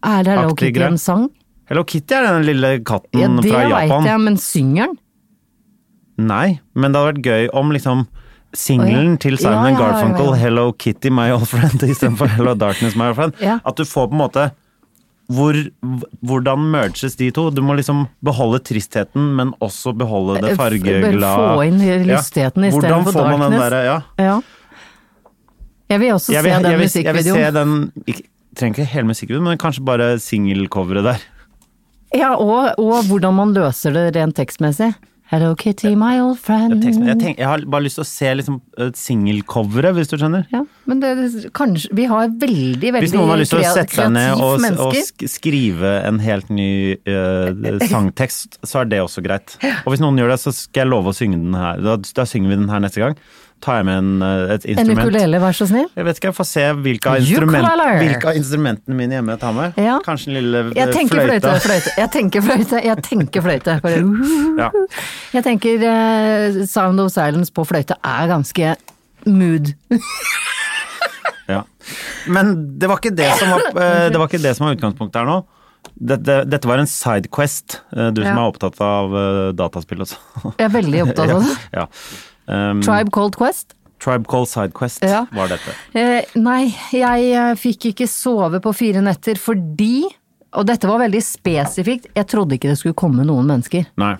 S2: Er det Hello
S1: Aktig
S2: Kitty
S1: grønn.
S2: en sang?
S1: Hello Kitty er den lille katten
S2: Ja, det
S1: Mm, fra Japan.
S2: veit jeg, men synger den?
S1: Nei, men det hadde vært gøy om liksom singelen
S2: Å, ja.
S1: til Simon
S2: Ja, ja,
S1: Garfunkel,
S2: ja, ja.
S1: 'Hello Kitty, my old friend', istedenfor 'Hello Darkness, my old friend'.
S2: Ja.
S1: At du får på en måte hvor, Hvordan merges de to? Du må liksom beholde tristheten, men også beholde det
S2: Eh, f-
S1: fargeglade
S2: bare få inn lystigheten i stedet
S1: Hvordan
S2: for
S1: får man den
S2: darkness?
S1: derre ja.
S2: Ja. Jeg vil også
S1: jeg, vil,
S2: se den
S1: jeg, vil, jeg vil
S2: musikkvideoen.
S1: se den ikke, Trenger ikke hele musikkvideoen, men kanskje bare singelcoveret der.
S2: Ja, og, og hvordan man løser det rent tekstmessig. Hello Kitty, my old friend.
S1: Teksten. Jeg, tenk, jeg har bare lyst til å se liksom eh, singelcoveret, hvis du skjønner.
S2: Ja, men det, det, kanskje, vi har veldig, veldig
S1: Hvis noen har lyst til å
S2: krea-
S1: sette seg ned
S2: kreativt
S1: og, og
S2: menneske.
S1: sk- skrive en helt ny eh, sangtekst, så er det også greit. Og hvis noen gjør det, så skal jeg love å synge den her. Da, da synger vi den her neste gang. Tar jeg med en, eh, et
S2: En
S1: instrument.
S2: ukulele, vær så snill.
S1: Jeg vet ikke, jeg får se hvilke av,
S2: Ukulele.
S1: instrument, hvilke av instrumentene mine hjemme jeg tar med.
S2: Ja.
S1: Kanskje en lille eh,
S2: Jeg tenker fløyte, fløyte. Jeg tenker fløyte, jeg tenker fløyte. Bare, uh.
S1: Ja.
S2: Jeg tenker eh, Sound of Silence på fløyte er ganske mood.
S1: Ja. Men det var ikke det som var, eh, det var, ikke det som var utgangspunktet her nå. Dette, dette var en sidequest, eh, du som
S2: Ja.
S1: er opptatt av eh, dataspill også.
S2: Jeg er veldig opptatt av det.
S1: ja. Um,
S2: Tribe Cold Quest.
S1: Tribe Call Sidequest
S2: Ja.
S1: var dette.
S2: Eh, nei, jeg eh, fikk ikke sove på fire netter fordi, og dette var veldig spesifikt, jeg trodde ikke det skulle komme noen mennesker.
S1: Nei.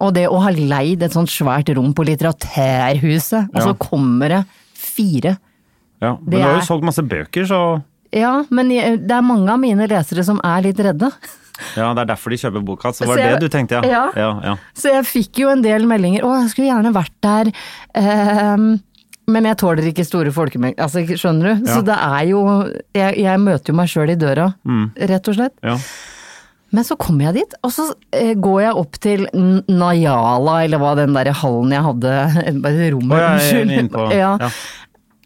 S2: Og det å ha leid et sånt svært rom på Litteraturhuset, og så
S1: Ja.
S2: kommer det fire.
S1: Ja. Men
S2: Det
S1: du har
S2: er-
S1: jo solgt masse bøker, så
S2: Ja, men jeg, det er mange av mine lesere som er litt redde.
S1: ja, det er derfor de kjøper boka. Så var
S2: Så
S1: det
S2: jeg-
S1: du tenkte, ja.
S2: Ja.
S1: ja, ja.
S2: Så jeg fikk jo en del meldinger. Å, jeg skulle gjerne vært der. ehm, men jeg tåler ikke store folkemengder. Altså, ikke- skjønner du?
S1: Ja.
S2: Så det er jo Jeg, jeg møter jo meg sjøl i døra,
S1: Mm.
S2: rett og slett.
S1: ja.
S2: Men så kommer jeg dit, og så eh, går jeg opp til N- Najala, eller hva den derre hallen jeg hadde Bare rommet,
S1: Å, ja, jeg er inne på
S2: Ja.
S1: ja.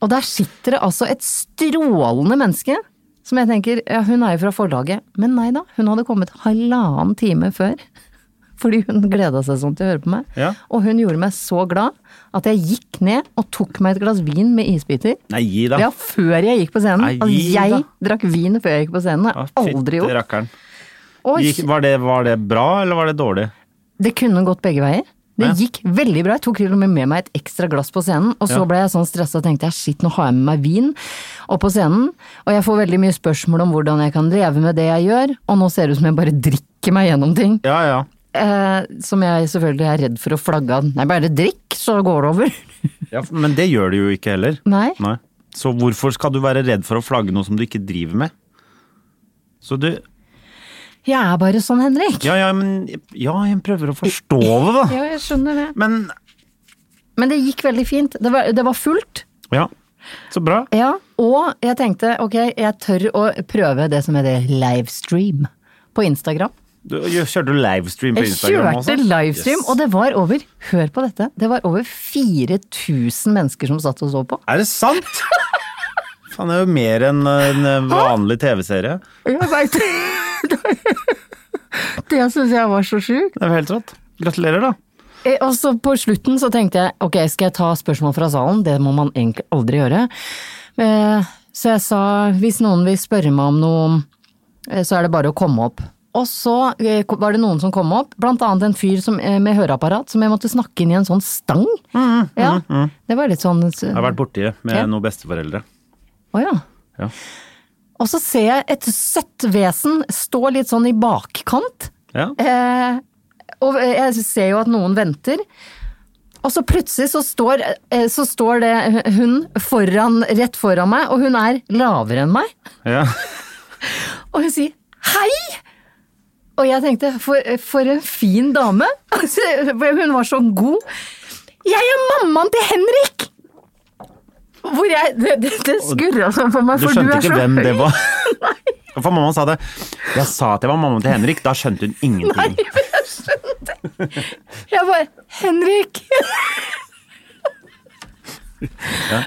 S2: Og der sitter det altså et strålende menneske. Som jeg tenker, ja hun er jo fra forlaget, men nei da, hun hadde kommet halvannen time før. Fordi hun gleda seg sånn til å høre på meg.
S1: Ja.
S2: Og hun gjorde meg så glad at jeg gikk ned og tok meg et glass vin med isbiter.
S1: Nei, gi da.
S2: Ja, før jeg gikk på scenen.
S1: Nei,
S2: altså,
S1: gi da.
S2: jeg drakk vin før jeg gikk på scenen, det har
S1: Ja,
S2: jeg aldri
S1: fytti
S2: gjort.
S1: rakkeren.
S2: Og
S1: Gikk, var, det, var det bra, eller var det dårlig?
S2: Det kunne gått begge veier. Det
S1: Ja.
S2: gikk veldig bra. Jeg tok til og med med meg et ekstra glass på scenen. Og så
S1: Ja.
S2: ble jeg sånn stressa og tenkte jeg, shit, nå har jeg med meg vin opp på scenen. Og jeg får veldig mye spørsmål om hvordan jeg kan leve med det jeg gjør. Og nå ser det ut som jeg bare drikker meg gjennom ting.
S1: Ja, ja.
S2: Eh, som jeg selvfølgelig er redd for å flagge av. Nei, bare drikk, så går det over.
S1: ja men det gjør du jo ikke heller.
S2: Nei.
S1: Nei. Så hvorfor skal du være redd for å flagge noe som du ikke driver med? Så du
S2: Jeg er bare sånn, Henrik.
S1: Ja, ja, men Ja, jeg prøver å forstå det, da.
S2: jeg skjønner det.
S1: Men
S2: Men det gikk veldig fint. Det var, det var fullt.
S1: Ja. Så bra.
S2: Ja, og jeg tenkte ok, jeg tør å prøve det som heter livestream på Instagram.
S1: Du, kjørte du livestream på
S2: Jeg
S1: Instagram også?
S2: kjørte livestream,
S1: Yes.
S2: og det var over Hør på dette. Det var over 4000 mennesker som satt og så på.
S1: Er det sant?! Faen, det er jo mer enn en vanlig TV-serie.
S2: Jeg vet. Det syns jeg var så sjukt.
S1: Det er jo helt rått. Gratulerer, da.
S2: Eh, Og så på slutten så tenkte jeg ok, skal jeg ta spørsmål fra salen? Det må man egentlig aldri gjøre. Eh, Så jeg sa hvis noen vil spørre meg om noe, eh, så er det bare å komme opp. Og så eh, ko- var det noen som kom opp, blant annet en fyr som, eh, med høreapparat som jeg måtte snakke inn i en sånn stang. ja, Det var litt sånn
S1: Jeg har vært borti det med
S2: Ja.
S1: noen besteforeldre.
S2: Å ja.
S1: Ja.
S2: Og så ser jeg et søtt vesen stå litt sånn i bakkant.
S1: Ja.
S2: Eh, og jeg ser jo at noen venter. Og så plutselig så står, eh, så står det hun foran, rett foran meg, og hun er lavere enn meg.
S1: ja.
S2: Og hun sier 'hei'! Og jeg tenkte, for, for en fin dame! Altså, hun var så god. Jeg er mammaen til Henrik! Hvor jeg Det, det, det skurra sånn for meg,
S1: Du
S2: for du
S1: skjønte
S2: er så
S1: ikke hvem det
S2: høy.
S1: var. For mamma sa det. Jeg sa at jeg var mammaen til Henrik, da skjønte hun ingenting.
S2: Jeg bare Henrik!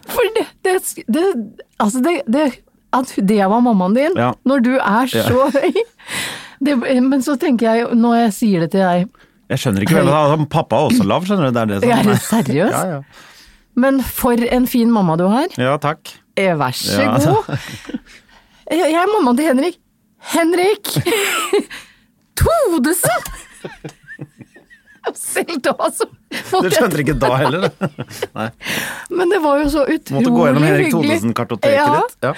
S2: For det, det, det Altså, det, det At det var mammaen din,
S1: Ja.
S2: når du er så høy det, Men så tenker jeg, når jeg sier det til deg
S1: Jeg skjønner ikke hvem det var. Altså, Pappa er også lav, skjønner du. Det er det som
S2: Er du
S1: er-
S2: seriøs?
S1: Ja, ja.
S2: Men for en fin mamma du har.
S1: ja, takk.
S2: Eh, Vær så
S1: Ja. altså.
S2: god. Eh, Jeg jeg er mammaen til Henrik. Henrik Todesen! Selv da, altså. så
S1: Du skjønte ikke da heller.
S2: Men det var jo så utrolig
S1: Måtte gå gjennom Henrik
S2: hyggelig.
S1: Thodesen-kartoteket
S2: Ja.
S1: ditt. Ja.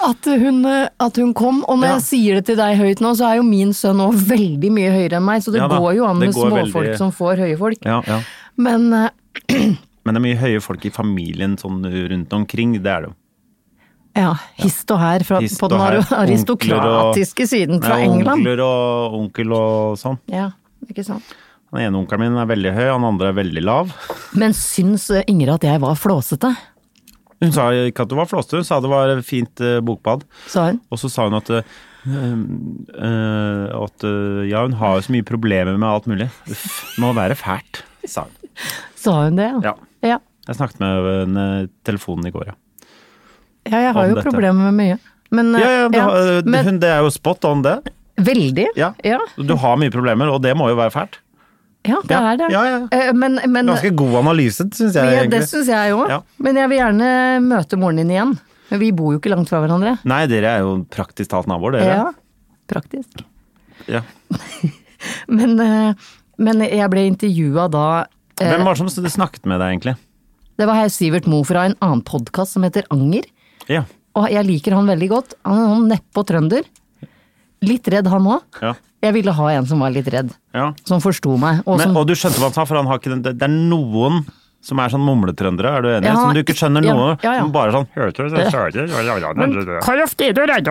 S2: At hun, eh, at hun kom, og når
S1: Ja.
S2: jeg sier det til deg høyt nå, så er jo min sønn òg veldig mye høyere enn meg, så det
S1: Ja da,
S2: går jo an
S1: det
S2: med
S1: går
S2: småfolk
S1: veldig-
S2: som får høye folk.
S1: Ja, ja.
S2: Men eh,
S1: Men det er mye høye folk i familien sånn rundt omkring, det er det jo.
S2: ja, hist og her fra,
S1: Hist
S2: på den
S1: og her,
S2: ar-
S1: onkler og-
S2: aristokratiske siden fra
S1: Nei,
S2: England.
S1: Onkler og onkel og sånn.
S2: Ja, ikke sant.
S1: Den ene onkelen min er veldig høy, han andre er veldig lav.
S2: Men syns eh, Ingrid at jeg var flåsete?
S1: Hun sa ikke at det var flåste, hun sa det var fint eh, bokbad.
S2: Sa hun.
S1: Og så sa hun at, eh, eh, at eh, ja, hun har jo så mye problemer med alt mulig. Uff, det må være fælt, sa hun.
S2: Sa hun det,
S1: Ja.
S2: Ja,
S1: Jeg snakket med henne i telefonen i går, ja.
S2: ja jeg har
S1: Om
S2: jo
S1: dette.
S2: problemer med mye. Men, eh,
S1: Ja, ja, det,
S2: ja,
S1: har-
S2: men
S1: hun, det er jo spot on, det.
S2: veldig.
S1: Ja.
S2: ja,
S1: Du har mye problemer, og det må jo være fælt.
S2: ja, det
S1: Ja,
S2: er det.
S1: ja, ja.
S2: Eh, Men, men,
S1: Ganske god analyse, syns jeg.
S2: Ja, det
S1: egentlig.
S2: syns jeg òg.
S1: Ja.
S2: Men jeg vil gjerne møte moren din igjen. Men vi bor jo ikke langt fra hverandre.
S1: Nei, dere er jo praktisk talt naboer, dere.
S2: Ja, Praktisk.
S1: Ja.
S2: Men, eh, men jeg ble intervjua da eh,
S1: Hvem var det som snakket med deg, egentlig?
S2: Det var herr Sivert Moe fra en annen podkast som heter Anger.
S1: Ja.
S2: Og jeg liker han veldig godt. Han er sånn neppe trønder. Litt redd han òg.
S1: ja.
S2: Jeg ville ha en som var litt redd.
S1: ja.
S2: Som forsto meg. Og
S1: Men,
S2: som,
S1: og du skjønte hva han sa, for han har ikke den, det det er noen som er sånn mumletrøndere, er du enig?
S2: Ja,
S1: som du ikke skjønner
S2: ja,
S1: noe,
S2: ja, ja.
S1: som bare sånn hørte du, så hørte du, ja, ja, ja,
S4: Hvor ofte er du redd?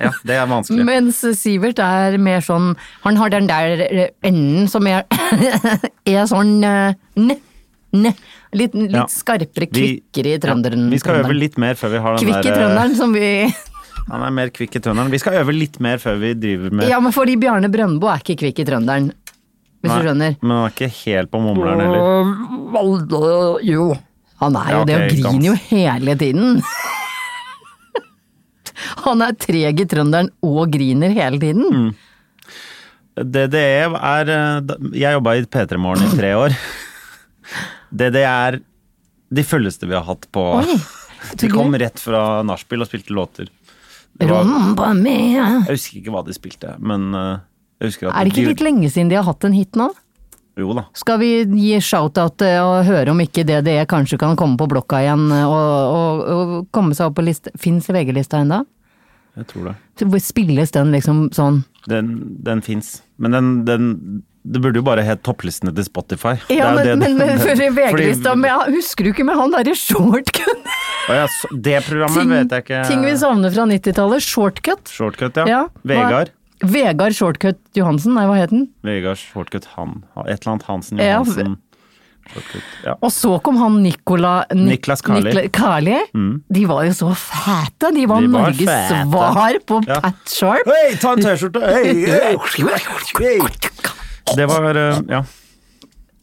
S1: ja, det er vanskelig.
S2: mens Sivert er mer sånn Han har den der eh, enden som er, er sånn eh, ne, ne. Litt, litt
S1: Ja.
S2: skarpere,
S1: Vi-
S2: kvikkere i trønderen.
S1: Ja, vi skal øve litt mer før vi har den
S2: Kvikk i
S1: der, eh,
S2: trønderen, som vi
S1: Han er mer kvikk i trønderen. Vi skal øve litt mer før vi driver med
S2: Ja, men fordi Bjarne Brøndbo er ikke kvikk i trønderen, hvis
S1: Nei,
S2: du skjønner.
S1: Men han er ikke helt på mumleren heller.
S2: Jo. Han er jo
S1: Ja, ok,
S2: det, og griner jo
S1: gans.
S2: hele tiden. Han er treg i trønderen og griner hele tiden.
S1: Mm. DDE er eh, da- Jeg jobba i P3 Morgen i tre år. DDE er de fulleste vi har hatt på
S2: Oi,
S1: De kom rett fra nachspiel og spilte låter. Det var-
S2: Rumba mia.
S1: Jeg husker ikke hva de spilte, men eh, jeg husker at
S2: Er det ikke
S1: de-
S2: litt lenge siden de har hatt en hit nå?
S1: Jo da.
S2: Skal vi gi shout-out eh, og høre om ikke DDE kanskje kan komme på blokka igjen eh, og, og, og komme seg opp på liste? Fins VG-lista ennå?
S1: Jeg tror det.
S2: Spilles den liksom sånn
S1: Den, den fins. Men den, den Det burde jo bare het topplistene til Spotify. Det
S2: Ja,
S1: er jo
S2: men,
S1: det-
S2: men, men for i VG-lista
S1: Fordi-
S2: men jeg Husker du ikke med han derre shortcut?
S1: Å ja, så- det programmet
S2: Ting,
S1: vet jeg ikke.
S2: ting vi savner fra 90-tallet. Shortcut.
S1: Shortcut, ja.
S2: Ja, hva-
S1: Vegard.
S2: Vegard Shortcut Johansen, nei, hva het den?
S1: Vegard Shortcut Han. Ah, Et eller annet Hansen
S2: Ja,
S1: Johansen. Shortcut. Ja.
S2: Og så kom han Nicola Ni-
S1: Niklas Carli.
S2: Nikla- Carli. De var jo så fæte! De var,
S1: De var
S2: Norges
S1: fæte.
S2: svar på
S1: Ja.
S2: Pat Sharp.
S1: Hei, ta en T-skjorte! Hei, hei, hei. Det var eh, Ja.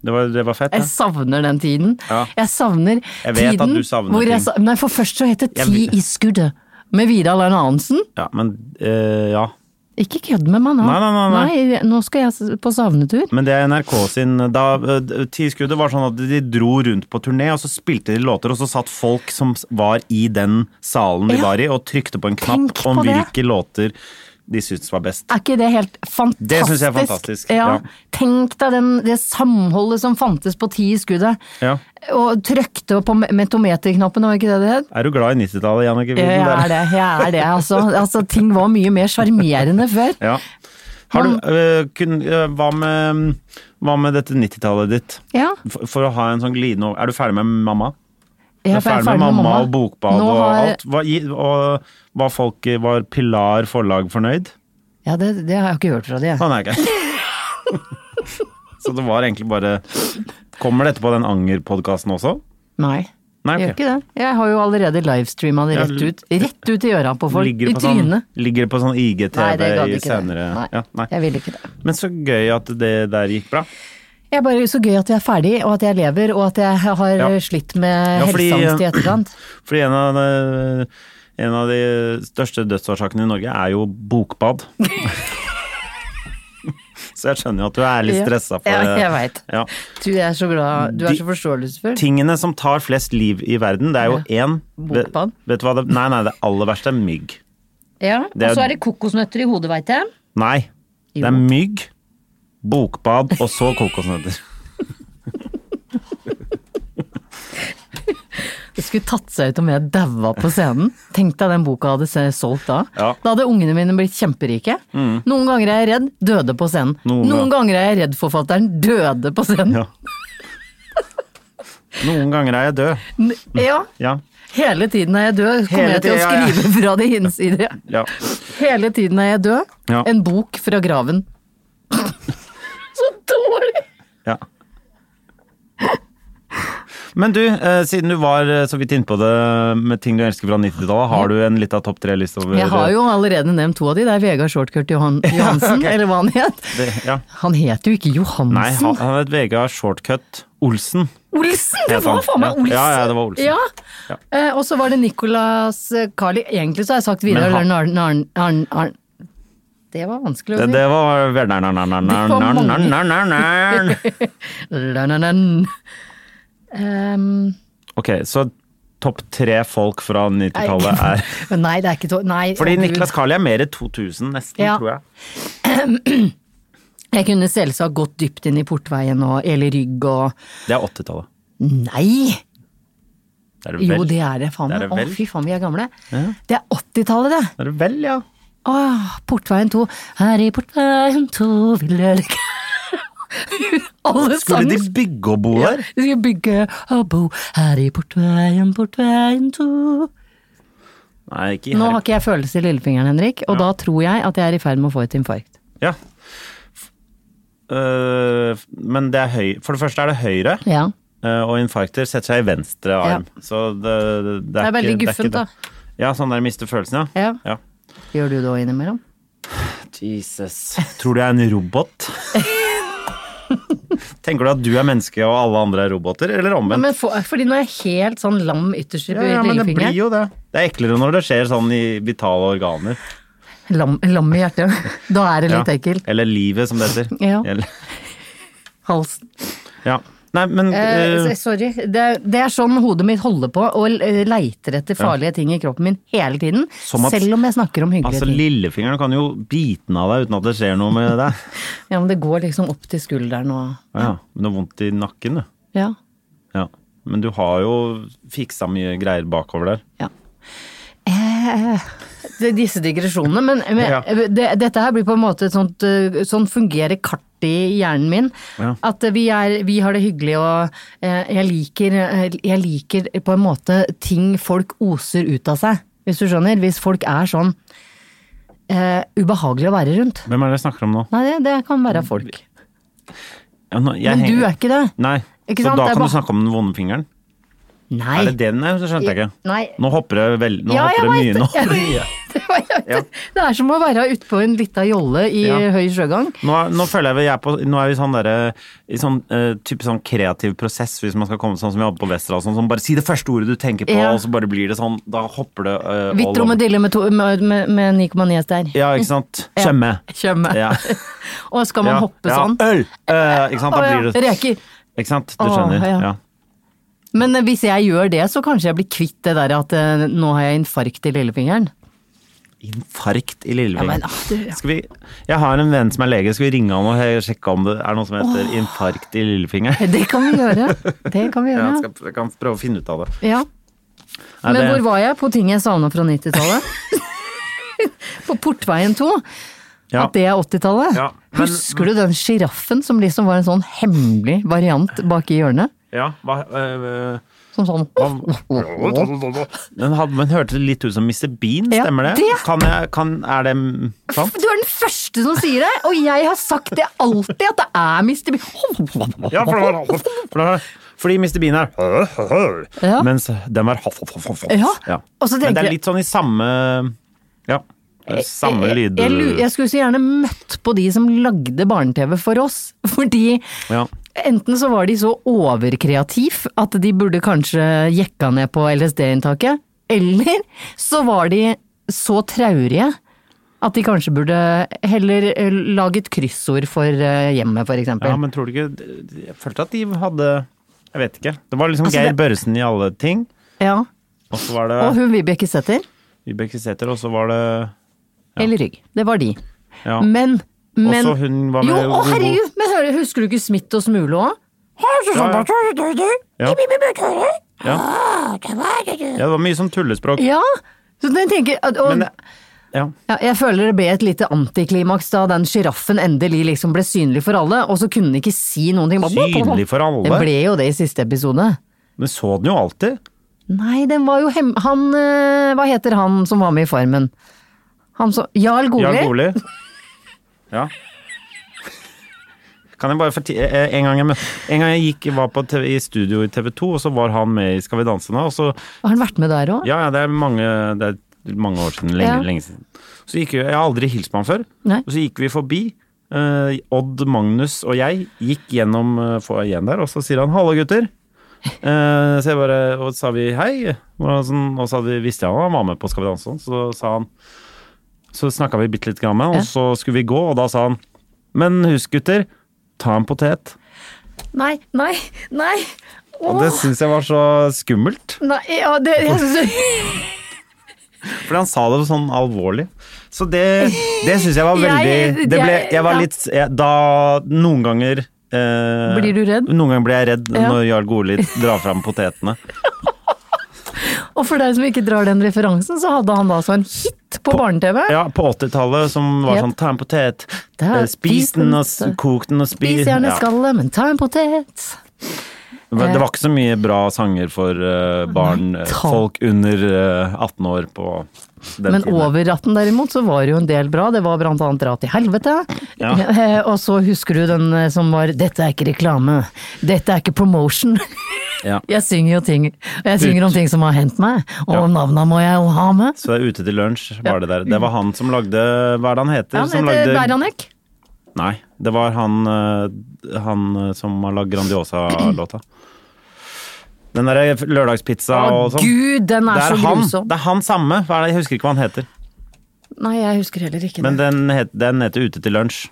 S1: Det var, det var fett.
S2: Jeg
S1: Ja.
S2: savner den tiden.
S1: Ja.
S2: Jeg savner
S1: Jeg vet at
S2: tiden
S1: du savner
S2: hvor jeg
S1: ting.
S2: sa Nei, for først så het det
S1: Jeg
S2: Ti
S1: vil-
S2: i skuddet med Vidar Lern Arnsen.
S1: ja men eh, Ja.
S2: Ikke kødd med meg nå.
S1: Nei, nei, nei, nei.
S2: nei, nå skal jeg s- på savnetur.
S1: Men det er NRK sin da, eh, Tiskuddet var sånn at de dro rundt på turné, og så spilte de låter, og så satt folk som s- var i den salen de
S2: Ja.
S1: var i, og trykte på en knapp
S2: Tenk på
S1: om
S2: det.
S1: hvilke låter de syntes var best.
S2: Er ikke det helt fantastisk?
S1: Det synes jeg er fantastisk,
S2: Ja.
S1: ja.
S2: Tenk deg den, det samholdet som fantes på ti i skuddet.
S1: Ja.
S2: Og trykte på me- metometerknappen, var ikke det det het?
S1: Er du glad i 90-tallet, Jannicke?
S2: Jeg
S1: Wieden?
S2: er det, jeg er det. Altså, altså ting var mye mer sjarmerende før.
S1: Ja. Har du, eh, kun, eh, hva, med, hva med dette 90-tallet ditt?
S2: Ja.
S1: For, for å ha en sånn glidende over Er du ferdig med mamma?
S2: Jeg
S1: er ferdig med mamma, og bokbad
S2: Nå
S1: og
S2: har-
S1: alt. Var, og var folk, var Pilar forlag fornøyd?
S2: Ja, det, det har jeg ikke hørt fra de. jeg.
S1: Han er ikke Så det var egentlig bare Kommer dette på den Anger-podkasten også?
S2: Nei.
S1: Nei,
S2: Jeg
S1: ok.
S2: gjør ikke det. Jeg har jo allerede livestreama det
S1: Ja,
S2: rett ut, rett ut i øra på folk.
S1: Ligger
S2: I
S1: det på sånn,
S2: trynet.
S1: ligger det på sånn IGTV
S2: Nei, det gadd
S1: i
S2: ikke
S1: senere
S2: det. Nei,
S1: Ja, nei.
S2: Jeg ville ikke det.
S1: Men så gøy at det der gikk bra.
S2: Jeg er bare så gøy at jeg er ferdig, og at jeg lever, og at jeg har
S1: Ja.
S2: slitt med
S1: Ja, fordi- eh,
S2: helseangst i etterkant.
S1: Fordi en av, de, en av de største dødsårsakene i Norge er jo bokbad. så jeg skjønner jo at du er litt
S2: Ja.
S1: stressa for
S2: Ja, jeg vet.
S1: Ja.
S2: Du jeg er så glad, du er
S1: De-
S2: så forståelsesfull.
S1: Tingene som tar flest liv i verden, det er jo én vet,
S2: Bokbad.
S1: vet du hva det Nei, nei, det aller verste er mygg.
S2: Ja,
S1: Det er-
S2: Og så er det kokosnøtter i hodet, veit jeg.
S1: Nei. Det er
S2: Jo.
S1: mygg, bokbad og så kokosnøtter.
S2: Det skulle tatt seg ut om jeg daua på scenen. Tenk deg den boka hadde se- solgt da.
S1: Ja. Mm.
S2: Da hadde ungene mine blitt kjemperike. Noen ganger er jeg redd, døde på scenen.
S1: Noen
S2: Noen,
S1: ganger.
S2: ganger er jeg redd forfatteren, døde på scenen.
S1: Ja. Noen ganger er jeg død.
S2: N- Ja.
S1: Ja.
S2: Hele tiden er jeg død, kommer
S1: Hele
S2: jeg til å
S1: tiden, ja, ja.
S2: skrive fra de hinsidige.
S1: ja.
S2: Hele tiden er jeg død.
S1: Ja.
S2: En bok fra graven. Så dårlig!
S1: Ja. Men du, eh, siden du var eh, så vidt innpå det med ting du elsker fra 90-tallet, har du en lita topp tre-liste over
S2: Jeg har jo allerede nevnt to av de. Det er Vegard Shortcut Johan Johansen, eller hva han het.
S1: det, ja.
S2: Han het jo ikke Johansen.
S1: Nei, han han het Vegard Shortcut Olsen.
S2: Olsen! Det
S1: Het
S2: var
S1: han.
S2: faen meg
S1: Ja.
S2: Olsen!
S1: Ja, ja, det var Olsen.
S2: Ja. Eh, og så var det Nicolas eh, Carli. Egentlig så har jeg sagt Vidar
S1: Men han-
S2: Lørn Arn, Arn, Arn, Arn. Det var vanskelig å
S1: Det,
S2: si.
S1: det var
S2: Det var mange.
S1: Vernernernernernernernernern.
S2: Lørn-arn-arn. Ehm,
S1: Ok, så topp tre folk fra 90-tallet er
S2: Ehm, nei, det er ikke to... Nei.
S1: Fordi
S2: å, Gud.
S1: Niklas Carli er mer i 2000, nesten,
S2: Ja.
S1: tror jeg.
S2: Jeg kunne selvsagt gått dypt inn i portveien og Eli Rygg og
S1: Det er 80-tallet.
S2: Nei!
S1: Det er det
S2: Jo,
S1: vel.
S2: det er det, faen
S1: Det er
S2: meg.
S1: det
S2: Å,
S1: vel.
S2: fy faen, vi er gamle. Det er 80-tallet, det!
S1: Det er det vel, ja.
S2: Åh, Portveien 2. Her i Portveien 2 vil jeg ligge Alle
S1: Skulle
S2: sammen
S1: de bygge og bo der?
S2: Vi skal bygge og bo her i Portveien, Portveien 2
S1: Nei, ikke i
S2: Nå
S1: Harry
S2: har ikke jeg følelse i lillefingeren, Henrik, og da tror jeg at jeg er i ferd med å få et infarkt.
S1: Ja. F- øh, men det er høy For det første er det høyre,
S2: Ja.
S1: øh, og infarkter setter seg i venstre arm. Så det, det, er
S2: Det er veldig
S1: ikke-
S2: guffent,
S1: ikke
S2: da.
S1: det. Ja, sånn der mister følelsen, ja.
S2: Ja. Gjør du det òg innimellom?
S1: Jesus. Tror du jeg er en robot? Tenker du at du er menneske og alle andre er roboter, eller
S2: Ja,
S1: omvendt?
S2: men for, fordi nå er jeg helt sånn lam ytterst i
S1: Ja, ja, men det blir
S2: lillefingeren.
S1: jo det. Det er eklere når det skjer sånn i vitale organer.
S2: Lam, lam i hjertet. Da er det
S1: Ja.
S2: litt ekkelt.
S1: Eller livet, som det heter.
S2: Ja.
S1: Eller-
S2: Halsen.
S1: ja. Nei, men
S2: Eh,
S1: øh,
S2: s- sorry. Det, det er sånn hodet mitt holder på og eh, leiter etter farlige ting i kroppen min hele tiden.
S1: Som at-
S2: selv om jeg snakker om hyggelige
S1: Altså,
S2: ting.
S1: lillefingeren kan jo bite den av deg uten at det skjer noe med deg.
S2: Ja, men det går liksom opp til skulderen og
S1: Ah, ja. Men du har vondt i nakken, du.
S2: Ja.
S1: Ja. Men du har jo fiksa mye greier bakover der.
S2: ja. Eh, det, disse digresjonene. Men, men
S1: Ja.
S2: det, dette her blir på en måte et sånt eh, Sånn fungerer kartet i hjernen min.
S1: Ja.
S2: At eh, vi, er, vi har det hyggelig og eh, jeg liker, eh, jeg liker på en måte ting folk oser ut av seg. Hvis du skjønner? Hvis folk er sånn eh, ubehagelig å være rundt.
S1: Hvem er det jeg snakker om nå?
S2: Nei, det, det kan være folk.
S1: Ja, nå jeg
S2: Men du
S1: henger-
S2: er ikke det.
S1: Nei.
S2: Ikke
S1: så
S2: sant?
S1: da kan
S2: Det er
S1: du
S2: bare-
S1: snakke om den vonde fingeren?
S2: Nei.
S1: Er det det den er? Det skjønte jeg ikke.
S2: Nei.
S1: Nå hopper det vel... Nå
S2: Ja, jeg
S1: hopper det
S2: vet
S1: mye nå.
S2: det. Jeg Det var- jeg vet det. Det er som å være utpå en lita jolle i
S1: Ja.
S2: høy sjøgang.
S1: Nå, er- nå føler jeg vi er på Nå er vi sånn derre I sånn eh, type sånn kreativ prosess, hvis man skal komme sånn som vi hadde på Westerdal, sånn, sånn bare si det første ordet du tenker på,
S2: Ja.
S1: og så bare blir det sånn Da hopper det uh,
S2: Hvitt romedille med, to- med, med, med 9,9 der.
S1: Ja, ikke sant? Skjemme.
S2: Kjømme.
S1: Ja.
S2: Og skal man
S1: Ja.
S2: hoppe
S1: ja.
S2: sånn?
S1: Øl! Eh, ikke sant? Da
S2: Å ja,
S1: blir det
S2: Reker.
S1: Ikke sant? Du
S2: Åh,
S1: skjønner.
S2: ja.
S1: Ja.
S2: Men eh, hvis jeg gjør det, så kanskje jeg blir kvitt det der at eh, nå har jeg infarkt i lillefingeren.
S1: Infarkt i
S2: Ja, men,
S1: lillefingeren.
S2: ah, du, ja.
S1: Skal vi, jeg har en venn som er lege, skal vi ringe han og he- sjekke om det er noe som heter infarkt i lillefingeren?
S2: Det kan vi gjøre. Det kan vi
S1: Ja, jeg,
S2: gjøre.
S1: skal, jeg kan prøve å finne ut av det.
S2: Ja.
S1: Nei,
S2: Men
S1: det
S2: hvor var jeg på ting jeg savna fra 90-tallet? på Portveien 2.
S1: ja.
S2: At det er 80-tallet.
S1: Ja, men-
S2: Husker du den sjiraffen som liksom var en sånn hemmelig variant bak i hjørnet?
S1: Ja, hva, øh, øh,
S2: Som sånn.
S1: Men, had- men hørte det litt ut som Mr. Bean,
S2: Ja,
S1: stemmer det?
S2: det-
S1: Kan jeg, kan, er det mm, sant?
S2: Du er den første som sier det, og jeg har sagt det alltid, at det er Mr. Bean.
S1: Ja, for det var for det var- Fordi Mr. Bean er
S2: Ja.
S1: Mens den er
S2: Ja, og så
S1: Men det
S2: tenker
S1: er
S2: jeg-
S1: litt sånn i samme Ja. Samme
S2: Jeg-
S1: lyd...
S2: Jeg, lu- jeg skulle så gjerne møtt på de som lagde barne-TV for oss, fordi
S1: Ja.
S2: enten så var de så overkreativ at de burde kanskje jekka ned på LSD-inntaket, eller så var de så traurige at de kanskje burde heller eh, laget kryssord for eh, hjemmet, for eksempel.
S1: Ja, men tror du ikke Jeg følte at de hadde Jeg vet ikke. Det var liksom
S2: Altså,
S1: Geir
S2: det-
S1: Børresen i alle ting.
S2: Ja.
S1: Og så var
S2: Og
S1: det
S2: hun Vibeke Sæther,
S1: Vibeke Sæther, og så var det
S2: eller Rygg. Det var de.
S1: ja.
S2: Men, men
S1: Også hun var med
S2: Jo,
S1: i
S2: å
S1: Gogo.
S2: herregud! Men hører, husker du ikke Smith og Smule òg?
S1: Ja, ja. Ja. ja, det Ah, var mye sånn tullespråk.
S2: Ja! Så den tenker, at- og,
S1: Men det, ja.
S2: ja, jeg føler det ble et lite antiklimaks da den sjiraffen endelig liksom ble synlig for alle, og så kunne den ikke si noen ting. Bare-
S1: Synlig for alle?
S2: Det ble jo det i siste episode.
S1: Men så den jo alltid.
S2: Nei, den var jo hem... Han eh, Hva heter han som var med i Farmen? Han som Jarl Goli?
S1: Jarl Goli. Ja. Kan jeg bare forti- eh, en, gang jeg, mø- en gang jeg gikk, var på TV, i studio i TV 2, og så var han med i Skal vi danse nå. Og så,
S2: Har han vært med der òg?
S1: ja, ja, det er mange, det er mange år siden. Lenge,
S2: Ja.
S1: lenge siden. Så gikk vi, jeg har aldri hilst på han før.
S2: Nei.
S1: Og så gikk vi forbi. eh, Odd, Magnus og jeg gikk gjennom eh, foajeen der, og så sier han 'hallo, gutter'. Eh, så jeg bare, og så sa vi hei, og, sånn, og så hadde vi, visste jeg han var med på Skal vi danse, og sånn, så sa han Så snakka vi bitte litt grann med han, og så skulle vi gå, og da sa han Men husk, gutter, ta en potet.
S2: Nei, nei, nei.
S1: Og det syns jeg var så skummelt,
S2: nei ja, det, jeg synes,
S1: for han sa det sånn alvorlig. Så det, det syns jeg var veldig
S2: Jeg-
S1: Det ble Jeg var
S2: ja.
S1: litt jeg, Da Noen ganger eh,
S2: Blir du redd?
S1: Noen ganger blir jeg redd
S2: Ja.
S1: når Jarl Goli drar fram potetene.
S2: Og for deg som ikke drar den referansen, så hadde han da altså en hit på barne-TV.
S1: Ja, på 80-tallet som var
S2: Yep.
S1: sånn ta en potet,
S2: Ta-
S1: eh, spis den og s-
S2: spis den.
S1: kok den og spis
S2: Spis gjerne
S1: Ja.
S2: skallet, men ta en potet.
S1: Men Det var ikke så mye bra sanger for eh, barn, eh,
S2: ta-
S1: folk under eh, 18 år på den
S2: Men
S1: tiden.
S2: over ratten derimot, så var det jo en del bra. Det var blant annet Dra til helvete.
S1: Ja.
S2: Eh, Og så husker du den eh, som var Dette er ikke reklame, dette er ikke promotion.
S1: Ja.
S2: Jeg synger jo ting Jeg synger om ting som har hendt meg, og
S1: Ja.
S2: navna må jeg jo ha med.
S1: Så det er Ute til lunsj var det der. Det var han som lagde Hva er det han heter?
S2: Han
S1: som
S2: heter
S1: lagde-
S2: Beranek.
S1: Nei, det var han, eh, han eh, som har lagd Grandiosa-låta. Den derre lørdagspizza
S2: Å
S1: og sånn.
S2: gud, den er,
S1: det er
S2: så
S1: han.
S2: grusom.
S1: Det er han samme. Hva er det? Jeg husker ikke hva han heter.
S2: Nei, jeg husker heller ikke
S1: Men
S2: det.
S1: den, het, den heter Ute til lunsj.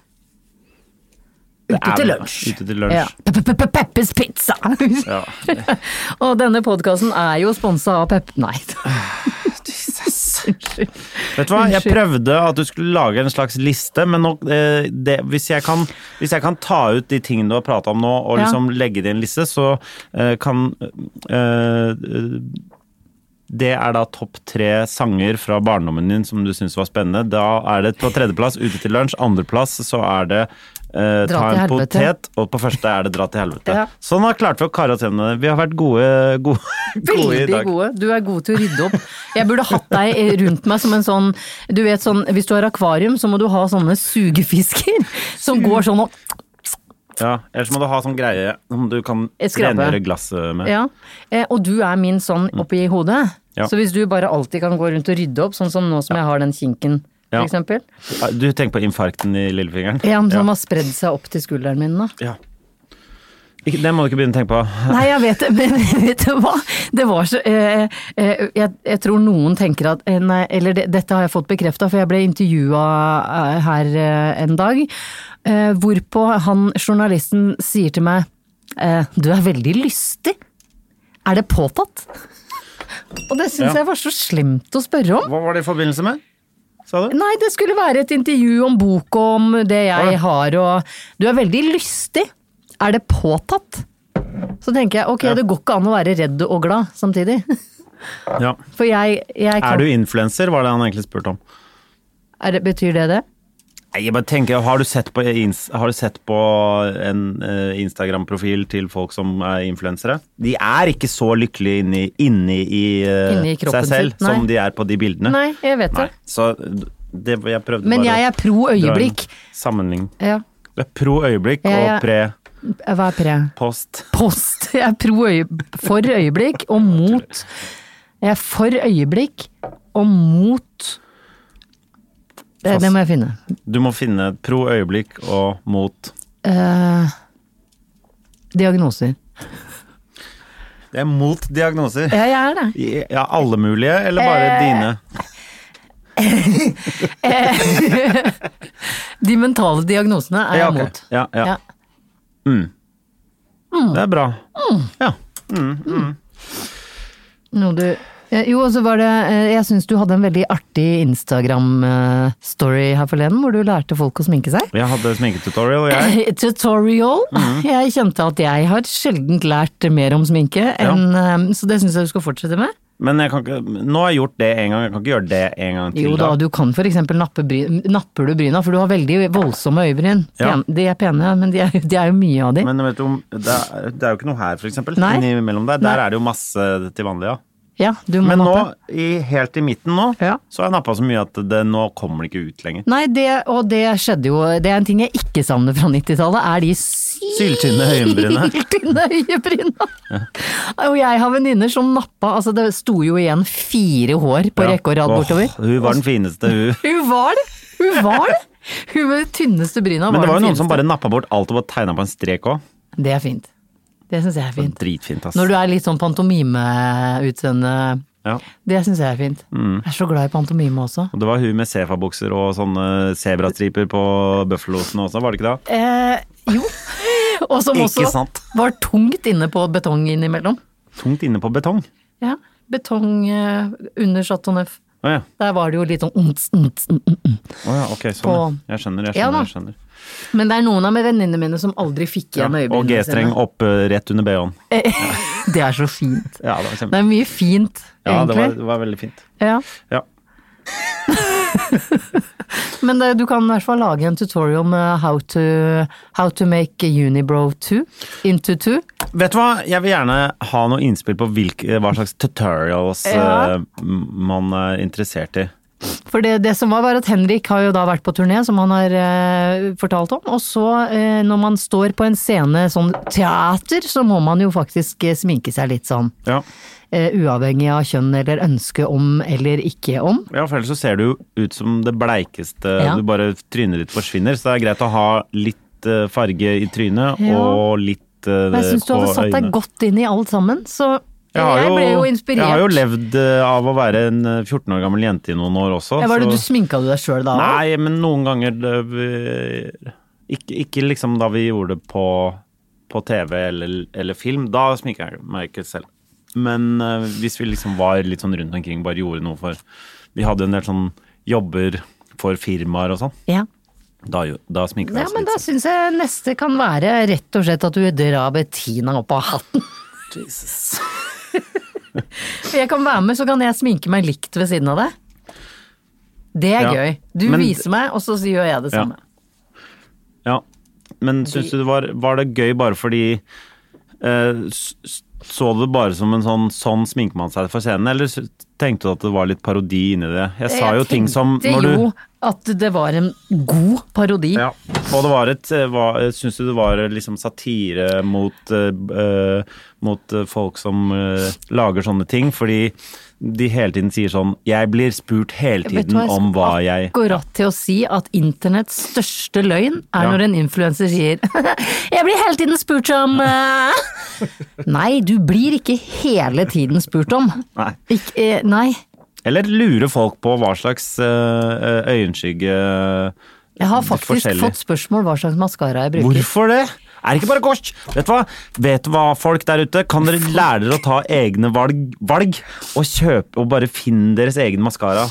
S1: Det
S2: Ute
S1: er-
S2: til lunsj.
S1: Ute til lunsj.
S2: Ja. Pe- pe- pe- Peppes pizza!
S1: Ja.
S2: og denne podkasten er jo sponsa av Pepp... Nei. Unnskyld.
S1: Vet du hva, jeg
S2: Unnskyld.
S1: prøvde at du skulle lage en slags liste, men nå, eh, det, hvis, jeg kan, hvis jeg kan ta ut de tingene du har prata om nå, og
S2: Ja.
S1: liksom legge det i en liste, så eh, kan eh, Det er da topp tre sanger fra barndommen din som du syns var spennende. Da er det på tredjeplass Ute til lunsj, andreplass så er det eh, Ta
S2: til
S1: en
S2: helvete.
S1: potet, og på første er det Dra til helvete.
S2: Ja.
S1: Sånn har klart vi å kare oss gjennom det. Vi har vært gode, gode, gode i
S2: Veldig
S1: dag.
S2: gode. Du er god til å rydde opp. Jeg burde hatt deg rundt meg som en sånn Du vet sånn, hvis du har akvarium, så må du ha sånne sugefisker som går sånn og
S1: Ja, Ellers må du ha sånn greie som du kan
S2: Skrape.
S1: rengjøre glasset med.
S2: Ja. Eh, Og du er min sånn oppi hodet.
S1: Mm. Ja.
S2: Så hvis du bare alltid kan gå rundt og rydde opp, sånn som nå som jeg har den kinken,
S1: Ja.
S2: for eksempel.
S1: Ah, Du tenker på infarkten i lillefingeren?
S2: Ja, som
S1: Ja.
S2: har spredd seg opp til skulderen min, da.
S1: Ja. Ikke, det må du ikke begynne å tenke på.
S2: Nei, jeg vet det, men vet du hva? Det var så eh, eh, jeg, jeg tror noen tenker at eh, Nei, eller det, dette har jeg fått bekrefta, for jeg ble intervjua eh, her eh, en dag. Eh, hvorpå han journalisten sier til meg eh, Du er veldig lystig. Er det påtatt? Og det syns
S1: Ja.
S2: jeg var så slemt å spørre om.
S1: Hva var det i forbindelse med? Sa du?
S2: Nei, det skulle være et intervju om bok og om det jeg
S1: Ja.
S2: har og Du er veldig lystig. Er det påtatt? Så tenker jeg ok,
S1: Ja.
S2: det går ikke an å være redd og glad samtidig.
S1: Ja.
S2: For jeg, jeg
S1: Er
S2: kan
S1: du influenser, var det han egentlig spurte om.
S2: er det, Betyr det det?
S1: Nei, Jeg bare tenker, har du sett på, ins- har du sett på en eh, Instagram-profil til folk som er influensere? De er ikke så lykkelige inni, inni i, eh,
S2: Inni i kroppen
S1: seg selv
S2: sin, nei.
S1: som de er på de bildene.
S2: Nei, jeg vet det.
S1: Så det, jeg prøvde
S2: Men
S1: bare
S2: jeg er pro
S1: å dra en
S2: øyeblikk.
S1: Sammenligning.
S2: Ja.
S1: Det er pro øyeblikk
S2: Jeg-
S1: og pre-post.
S2: Hva er pre? Post. Jeg er pro øye... for øyeblikk og mot Jeg er for øyeblikk og mot Det, det må jeg finne.
S1: Du må finne pro øyeblikk og mot.
S2: Eh, diagnoser.
S1: Det er mot diagnoser.
S2: Ja, Eh, jeg er det.
S1: I- Ja, alle mulige, eller bare dine?
S2: De mentale diagnosene er
S1: Ja,
S2: jeg
S1: ok.
S2: mot.
S1: Ja, ja.
S2: Ja.
S1: Det er bra.
S2: Mm.
S1: Ja.
S2: Noe du Eh, Jo, og så var det eh, Jeg syns du hadde en veldig artig Instagram-story her forleden, hvor du lærte folk å sminke seg.
S1: Jeg hadde sminketutorial, jeg.
S2: Tutorial.
S1: Mhm.
S2: Jeg kjente at jeg har sjelden lært mer om sminke, enn, eh, så det syns jeg du skal fortsette med.
S1: Men jeg kan ikke, nå har jeg gjort det en gang, jeg kan ikke gjøre det en gang til.
S2: Jo da, du kan for eksempel nappe bry, napper du bryna, for du har veldig voldsomme øyebryn.
S1: Ja.
S2: Pen, de er pene, men de er, de er jo mye av de.
S1: Men vet du, om- det er, det er jo ikke noe her, for eksempel.
S2: Nei.
S1: Innimellom der. Der
S2: Nei.
S1: er det jo masse til vanlig, ja.
S2: ja, du må
S1: Men nå,
S2: nappe.
S1: i, helt i midten nå,
S2: Ja.
S1: så har jeg nappa så mye at det, nå kommer det ikke ut lenger.
S2: Nei, det, og det skjedde jo Det er en ting jeg ikke savner fra 90-tallet, er de
S1: Syltynne øyenbrynene.
S2: Syltynne øyebryna! Og jeg har venninner som nappa Altså, det sto jo igjen fire hår på
S1: Ja.
S2: rekke og rad
S1: Åh,
S2: bortover.
S1: Hun var den fineste, hun.
S2: Hun var det! Hun var det! Hun med de tynneste bryna
S1: Men det var jo
S2: den
S1: noen som bare
S2: fineste.
S1: nappa bort alt og bare tegna på en strek òg.
S2: Det er fint. Det syns jeg er fint.
S1: Dritfint, ass.
S2: Når du er litt sånn pantomimeutseende.
S1: Ja.
S2: Det syns jeg er fint.
S1: Mm.
S2: Jeg er så glad i pantomime også.
S1: Og det var hun med Sefa-bukser og sånne sebrastriper på bøffelosen også, var det ikke det?
S2: Eh, jo. Og som
S1: Ikke
S2: også
S1: sant.
S2: var tungt inne på betong innimellom.
S1: Tungt inne på betong.
S2: Ja. Betong eh, under Chateau Neuf.
S1: Å ja.
S2: Der var det jo litt sånn unts, unts, unts, unts.
S1: Å ja, ok, sånn.
S2: På-
S1: ja. Jeg skjønner, jeg
S2: Ja da.
S1: skjønner. jeg skjønner.
S2: Men det er noen av venninnene mine som aldri fikk
S1: Ja.
S2: igjen
S1: Og
S2: øyebrynene
S1: G-streng opp eh, rett under BH-en.
S2: Det er så fint.
S1: Ja, det var
S2: Det
S1: kjempe...
S2: er mye fint,
S1: Ja, det var,
S2: egentlig.
S1: det var veldig fint.
S2: Ja.
S1: Ja.
S2: Men det, du kan i hvert fall lage en tutorial med how to, how to make Unibrow 2 into 2.
S1: Vet du hva, jeg vil gjerne ha noe innspill på hvilke, hva slags tutorials
S2: Ja.
S1: eh, man er interessert i.
S2: For det, det som var, var at Henrik har jo da vært på turné, som han har eh, fortalt om. Og så, eh, når man står på en scene sånn teater, så må man jo faktisk eh, sminke seg litt sånn.
S1: Ja,
S2: Eh, uavhengig av kjønn eller ønske om eller ikke om.
S1: ja for ellers så ser du jo ut som det bleikeste,
S2: Ja.
S1: du bare trynet ditt forsvinner, så det er greit å ha litt eh, farge i trynet
S2: Ja.
S1: og litt eh,
S2: Men jeg syns du
S1: på
S2: hadde satt deg
S1: øynene.
S2: godt inn i alt sammen, så
S1: Jeg, har
S2: jeg
S1: jo,
S2: ble jo inspirert.
S1: Jeg har jo levd eh, av å være en eh, 14 år gammel jente i noen år også.
S2: Ja, Var det
S1: så-
S2: du sminka du deg sjøl da?
S1: altså- Nei, men noen ganger det, vi, ikke, ikke liksom da vi gjorde det på, på TV eller, eller film. Da sminka jeg meg ikke selv. Men eh, hvis vi liksom var litt sånn rundt omkring, bare gjorde noe for Vi hadde en del sånn jobber for firmaer og sånn.
S2: Ja.
S1: Da, jo- da sminka vi
S2: Ja,
S1: oss
S2: men
S1: litt. sånn.
S2: da syns jeg neste kan være rett og slett at du drar Bettina opp av hatten. jeg kan være med, så kan jeg sminke meg likt ved siden av deg. Det er
S1: Ja,
S2: gøy. Du
S1: men-
S2: viser meg, og så gjør jeg det
S1: Ja.
S2: samme.
S1: Ja, men syns du det var, var det gøy bare fordi eh, s- s- Så du det bare som en sånn sånn sminker man seg for scenen, eller s- tenkte du at det var litt parodi inni det? Jeg sa jo ting som når
S2: tenkte
S1: du
S2: jo at det var en god parodi.
S1: ja. Og det var et eh, var, Syns du det var liksom satire mot eh, b- eh, Mot eh, folk som eh, lager sånne ting? Fordi de hele tiden sier sånn Jeg blir spurt hele
S2: Vet du
S1: tiden
S2: jeg
S1: om hva
S2: skulle
S1: jeg
S2: Akkurat til å si at internetts største løgn er
S1: Ja.
S2: når en influenser sier Jeg blir hele tiden spurt om eh». Nei, du blir ikke hele tiden spurt om.
S1: Nei.
S2: Ikk- eh, nei.
S1: Eller lurer folk på hva slags eh, øyenskygge eh,
S2: Jeg har faktisk
S1: forskjellig.
S2: fått spørsmål hva slags maskara jeg bruker.
S1: Hvorfor det? Er det ikke bare kors? Vet du hva? Vet du hva, folk der ute? Kan dere lære dere å ta egne valg, valg og kjøpe og bare finne deres egen maskara?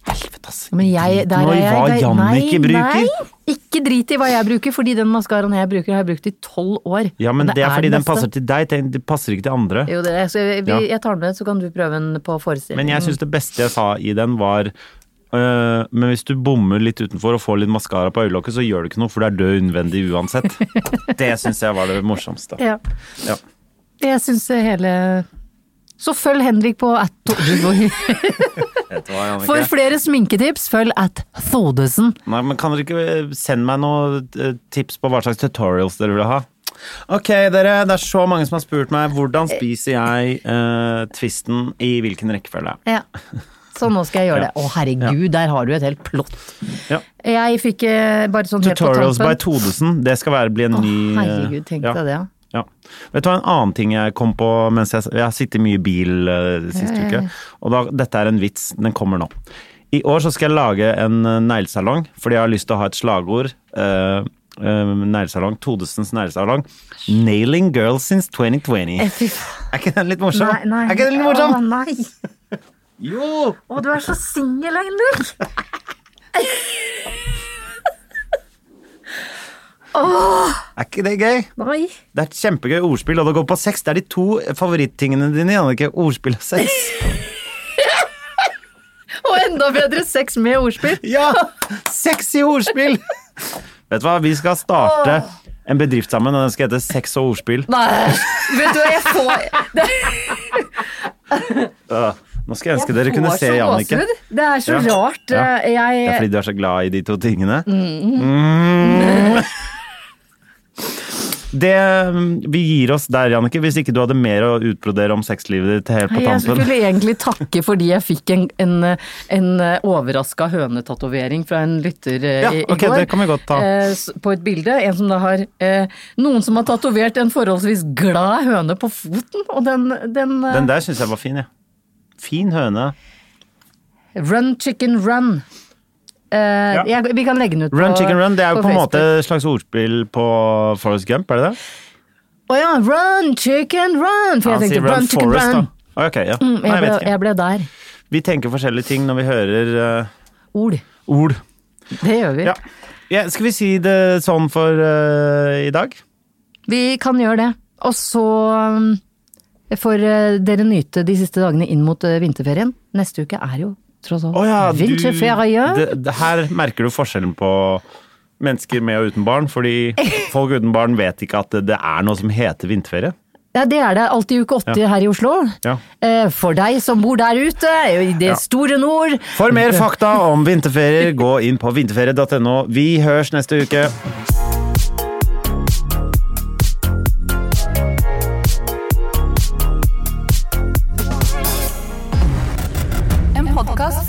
S1: Helvete, ass.
S2: Men jeg, der
S1: Nå
S2: er
S1: i
S2: jeg,
S1: hva
S2: der-
S1: Jannicke
S2: nei,
S1: bruker.
S2: Nei, ikke drit i hva jeg bruker, fordi den maskaraen jeg bruker, har jeg brukt i tolv år.
S1: Ja, men
S2: Og
S1: det, er fordi den
S2: beste.
S1: passer til deg, tenk, det passer ikke til andre.
S2: Jo, det er, så jeg, vi,
S1: Ja.
S2: jeg tar den med, så kan du prøve den på forestilling.
S1: Men jeg syns det beste jeg sa i den, var Eh, men hvis du bommer litt utenfor og får litt maskara på øyelokket, så gjør det ikke noe, for det er død innvendig uansett. Det syns jeg var det morsomste.
S2: Ja.
S1: Ja.
S2: Jeg syns hele Så følg Henrik på at Tordeboy.
S1: Dette var Jannicke.
S2: For flere sminketips, følg at Thodesen.
S1: Nei, men kan dere ikke sende meg noen eh, tips på hva slags tutorials dere vil ha? Ok, dere, det er så mange som har spurt meg hvordan spiser jeg eh, twisten i hvilken rekkefølge.
S2: Ja. Så nå skal jeg gjøre
S1: Ja.
S2: det. Å herregud, der har du et helt plott.
S1: Ja.
S2: Jeg fikk eh, bare sånn helt på
S1: Tutorials by
S2: tampen.
S1: Todesen, det skal være, bli en ny eh,
S2: Herregud, tenk
S1: ja,
S2: deg det. ja.
S1: Ja. Vet du hva, en annen ting jeg kom på mens jeg, jeg har sittet mye i bil eh, siste
S2: Ja, ja, ja.
S1: uke, og da, dette er en vits, den kommer nå. I år så skal jeg lage en eh, neglesalong, fordi jeg har lyst til å ha et slagord. eh, eh, neglesalong, Todesens neglesalong. 'Nailing girls since 2020'.
S2: Eh, Fy faen.
S1: Er ikke den litt morsom?
S2: Nei, nei.
S1: Er ikke den litt morsom?
S2: Å, nei.
S1: Jo!
S2: Å, du er så singel, Henrik.
S1: Er ikke det gøy?
S2: Nei.
S1: Det er et kjempegøy ordspill, og det går på sex. Det er de to favorittingene dine, Jannicke. Ordspill og sex.
S2: Og enda bedre sex med ordspill.
S1: Ja! Sexy ordspill! Vet du hva, vi skal starte en bedrift sammen, og den skal hete Sex og ordspill.
S2: Nei, vet du hva, jeg får
S1: Øh, Nå skal jeg ønske dere kunne
S2: får
S1: se
S2: så
S1: Jannicke.
S2: gåsehud. Det er så
S1: Ja.
S2: rart.
S1: Ja.
S2: eh, Jeg
S1: Det er fordi du er så glad i de to tingene. Mm. Det mm, Vi gir oss der, Jannicke, hvis ikke du hadde mer å utbrodere om sexlivet ditt helt på
S2: Jeg
S1: tampen.
S2: skulle egentlig takke fordi jeg fikk en, en, en overraska hønetatovering fra en lytter eh,
S1: Ja,
S2: i, i
S1: ok,
S2: går.
S1: det kan vi godt ta.
S2: eh, s- På et bilde. En som da har eh, Noen som har tatovert en forholdsvis glad høne på foten, og den, den, eh,
S1: Den der syns jeg var fin, jeg. Fin høne.
S2: Run chicken run. Eh, jeg, vi kan legge den ut
S1: Run
S2: på
S1: chicken run, det er jo på en
S2: Facebook.
S1: måte et slags ordspill på Forest Gump, er det det?
S2: Å ja, run chicken run! For
S1: Han
S2: jeg
S1: sier
S2: tenkte run, chicken
S1: Forest,
S2: run.
S1: da. Å, Ok, ja.
S2: Mm,
S1: Nei, jeg
S2: jeg,
S1: vet
S2: ble,
S1: ikke.
S2: jeg ble der.
S1: Vi tenker forskjellige ting når vi hører eh,
S2: Ord.
S1: ord.
S2: Det gjør vi.
S1: Ja. Ja, skal vi si det sånn for eh, i dag?
S2: Vi kan gjøre det. Og så um, får eh, dere nyte de siste dagene inn mot eh, vinterferien. Neste uke er jo tross alt
S1: Å ja, du-
S2: vinterferie.
S1: det- det- Her merker du forskjellen på mennesker med og uten barn. Fordi folk uten barn vet ikke at det, det er noe som heter vinterferie.
S2: Ja, det er det alltid uke 80 her i Oslo.
S1: Ja.
S2: Eh, For deg som bor der ute, i det
S1: Ja.
S2: store nord.
S1: For mer fakta om vinterferier, gå inn på vinterferie.no. Vi høres neste uke.
S4: En podkast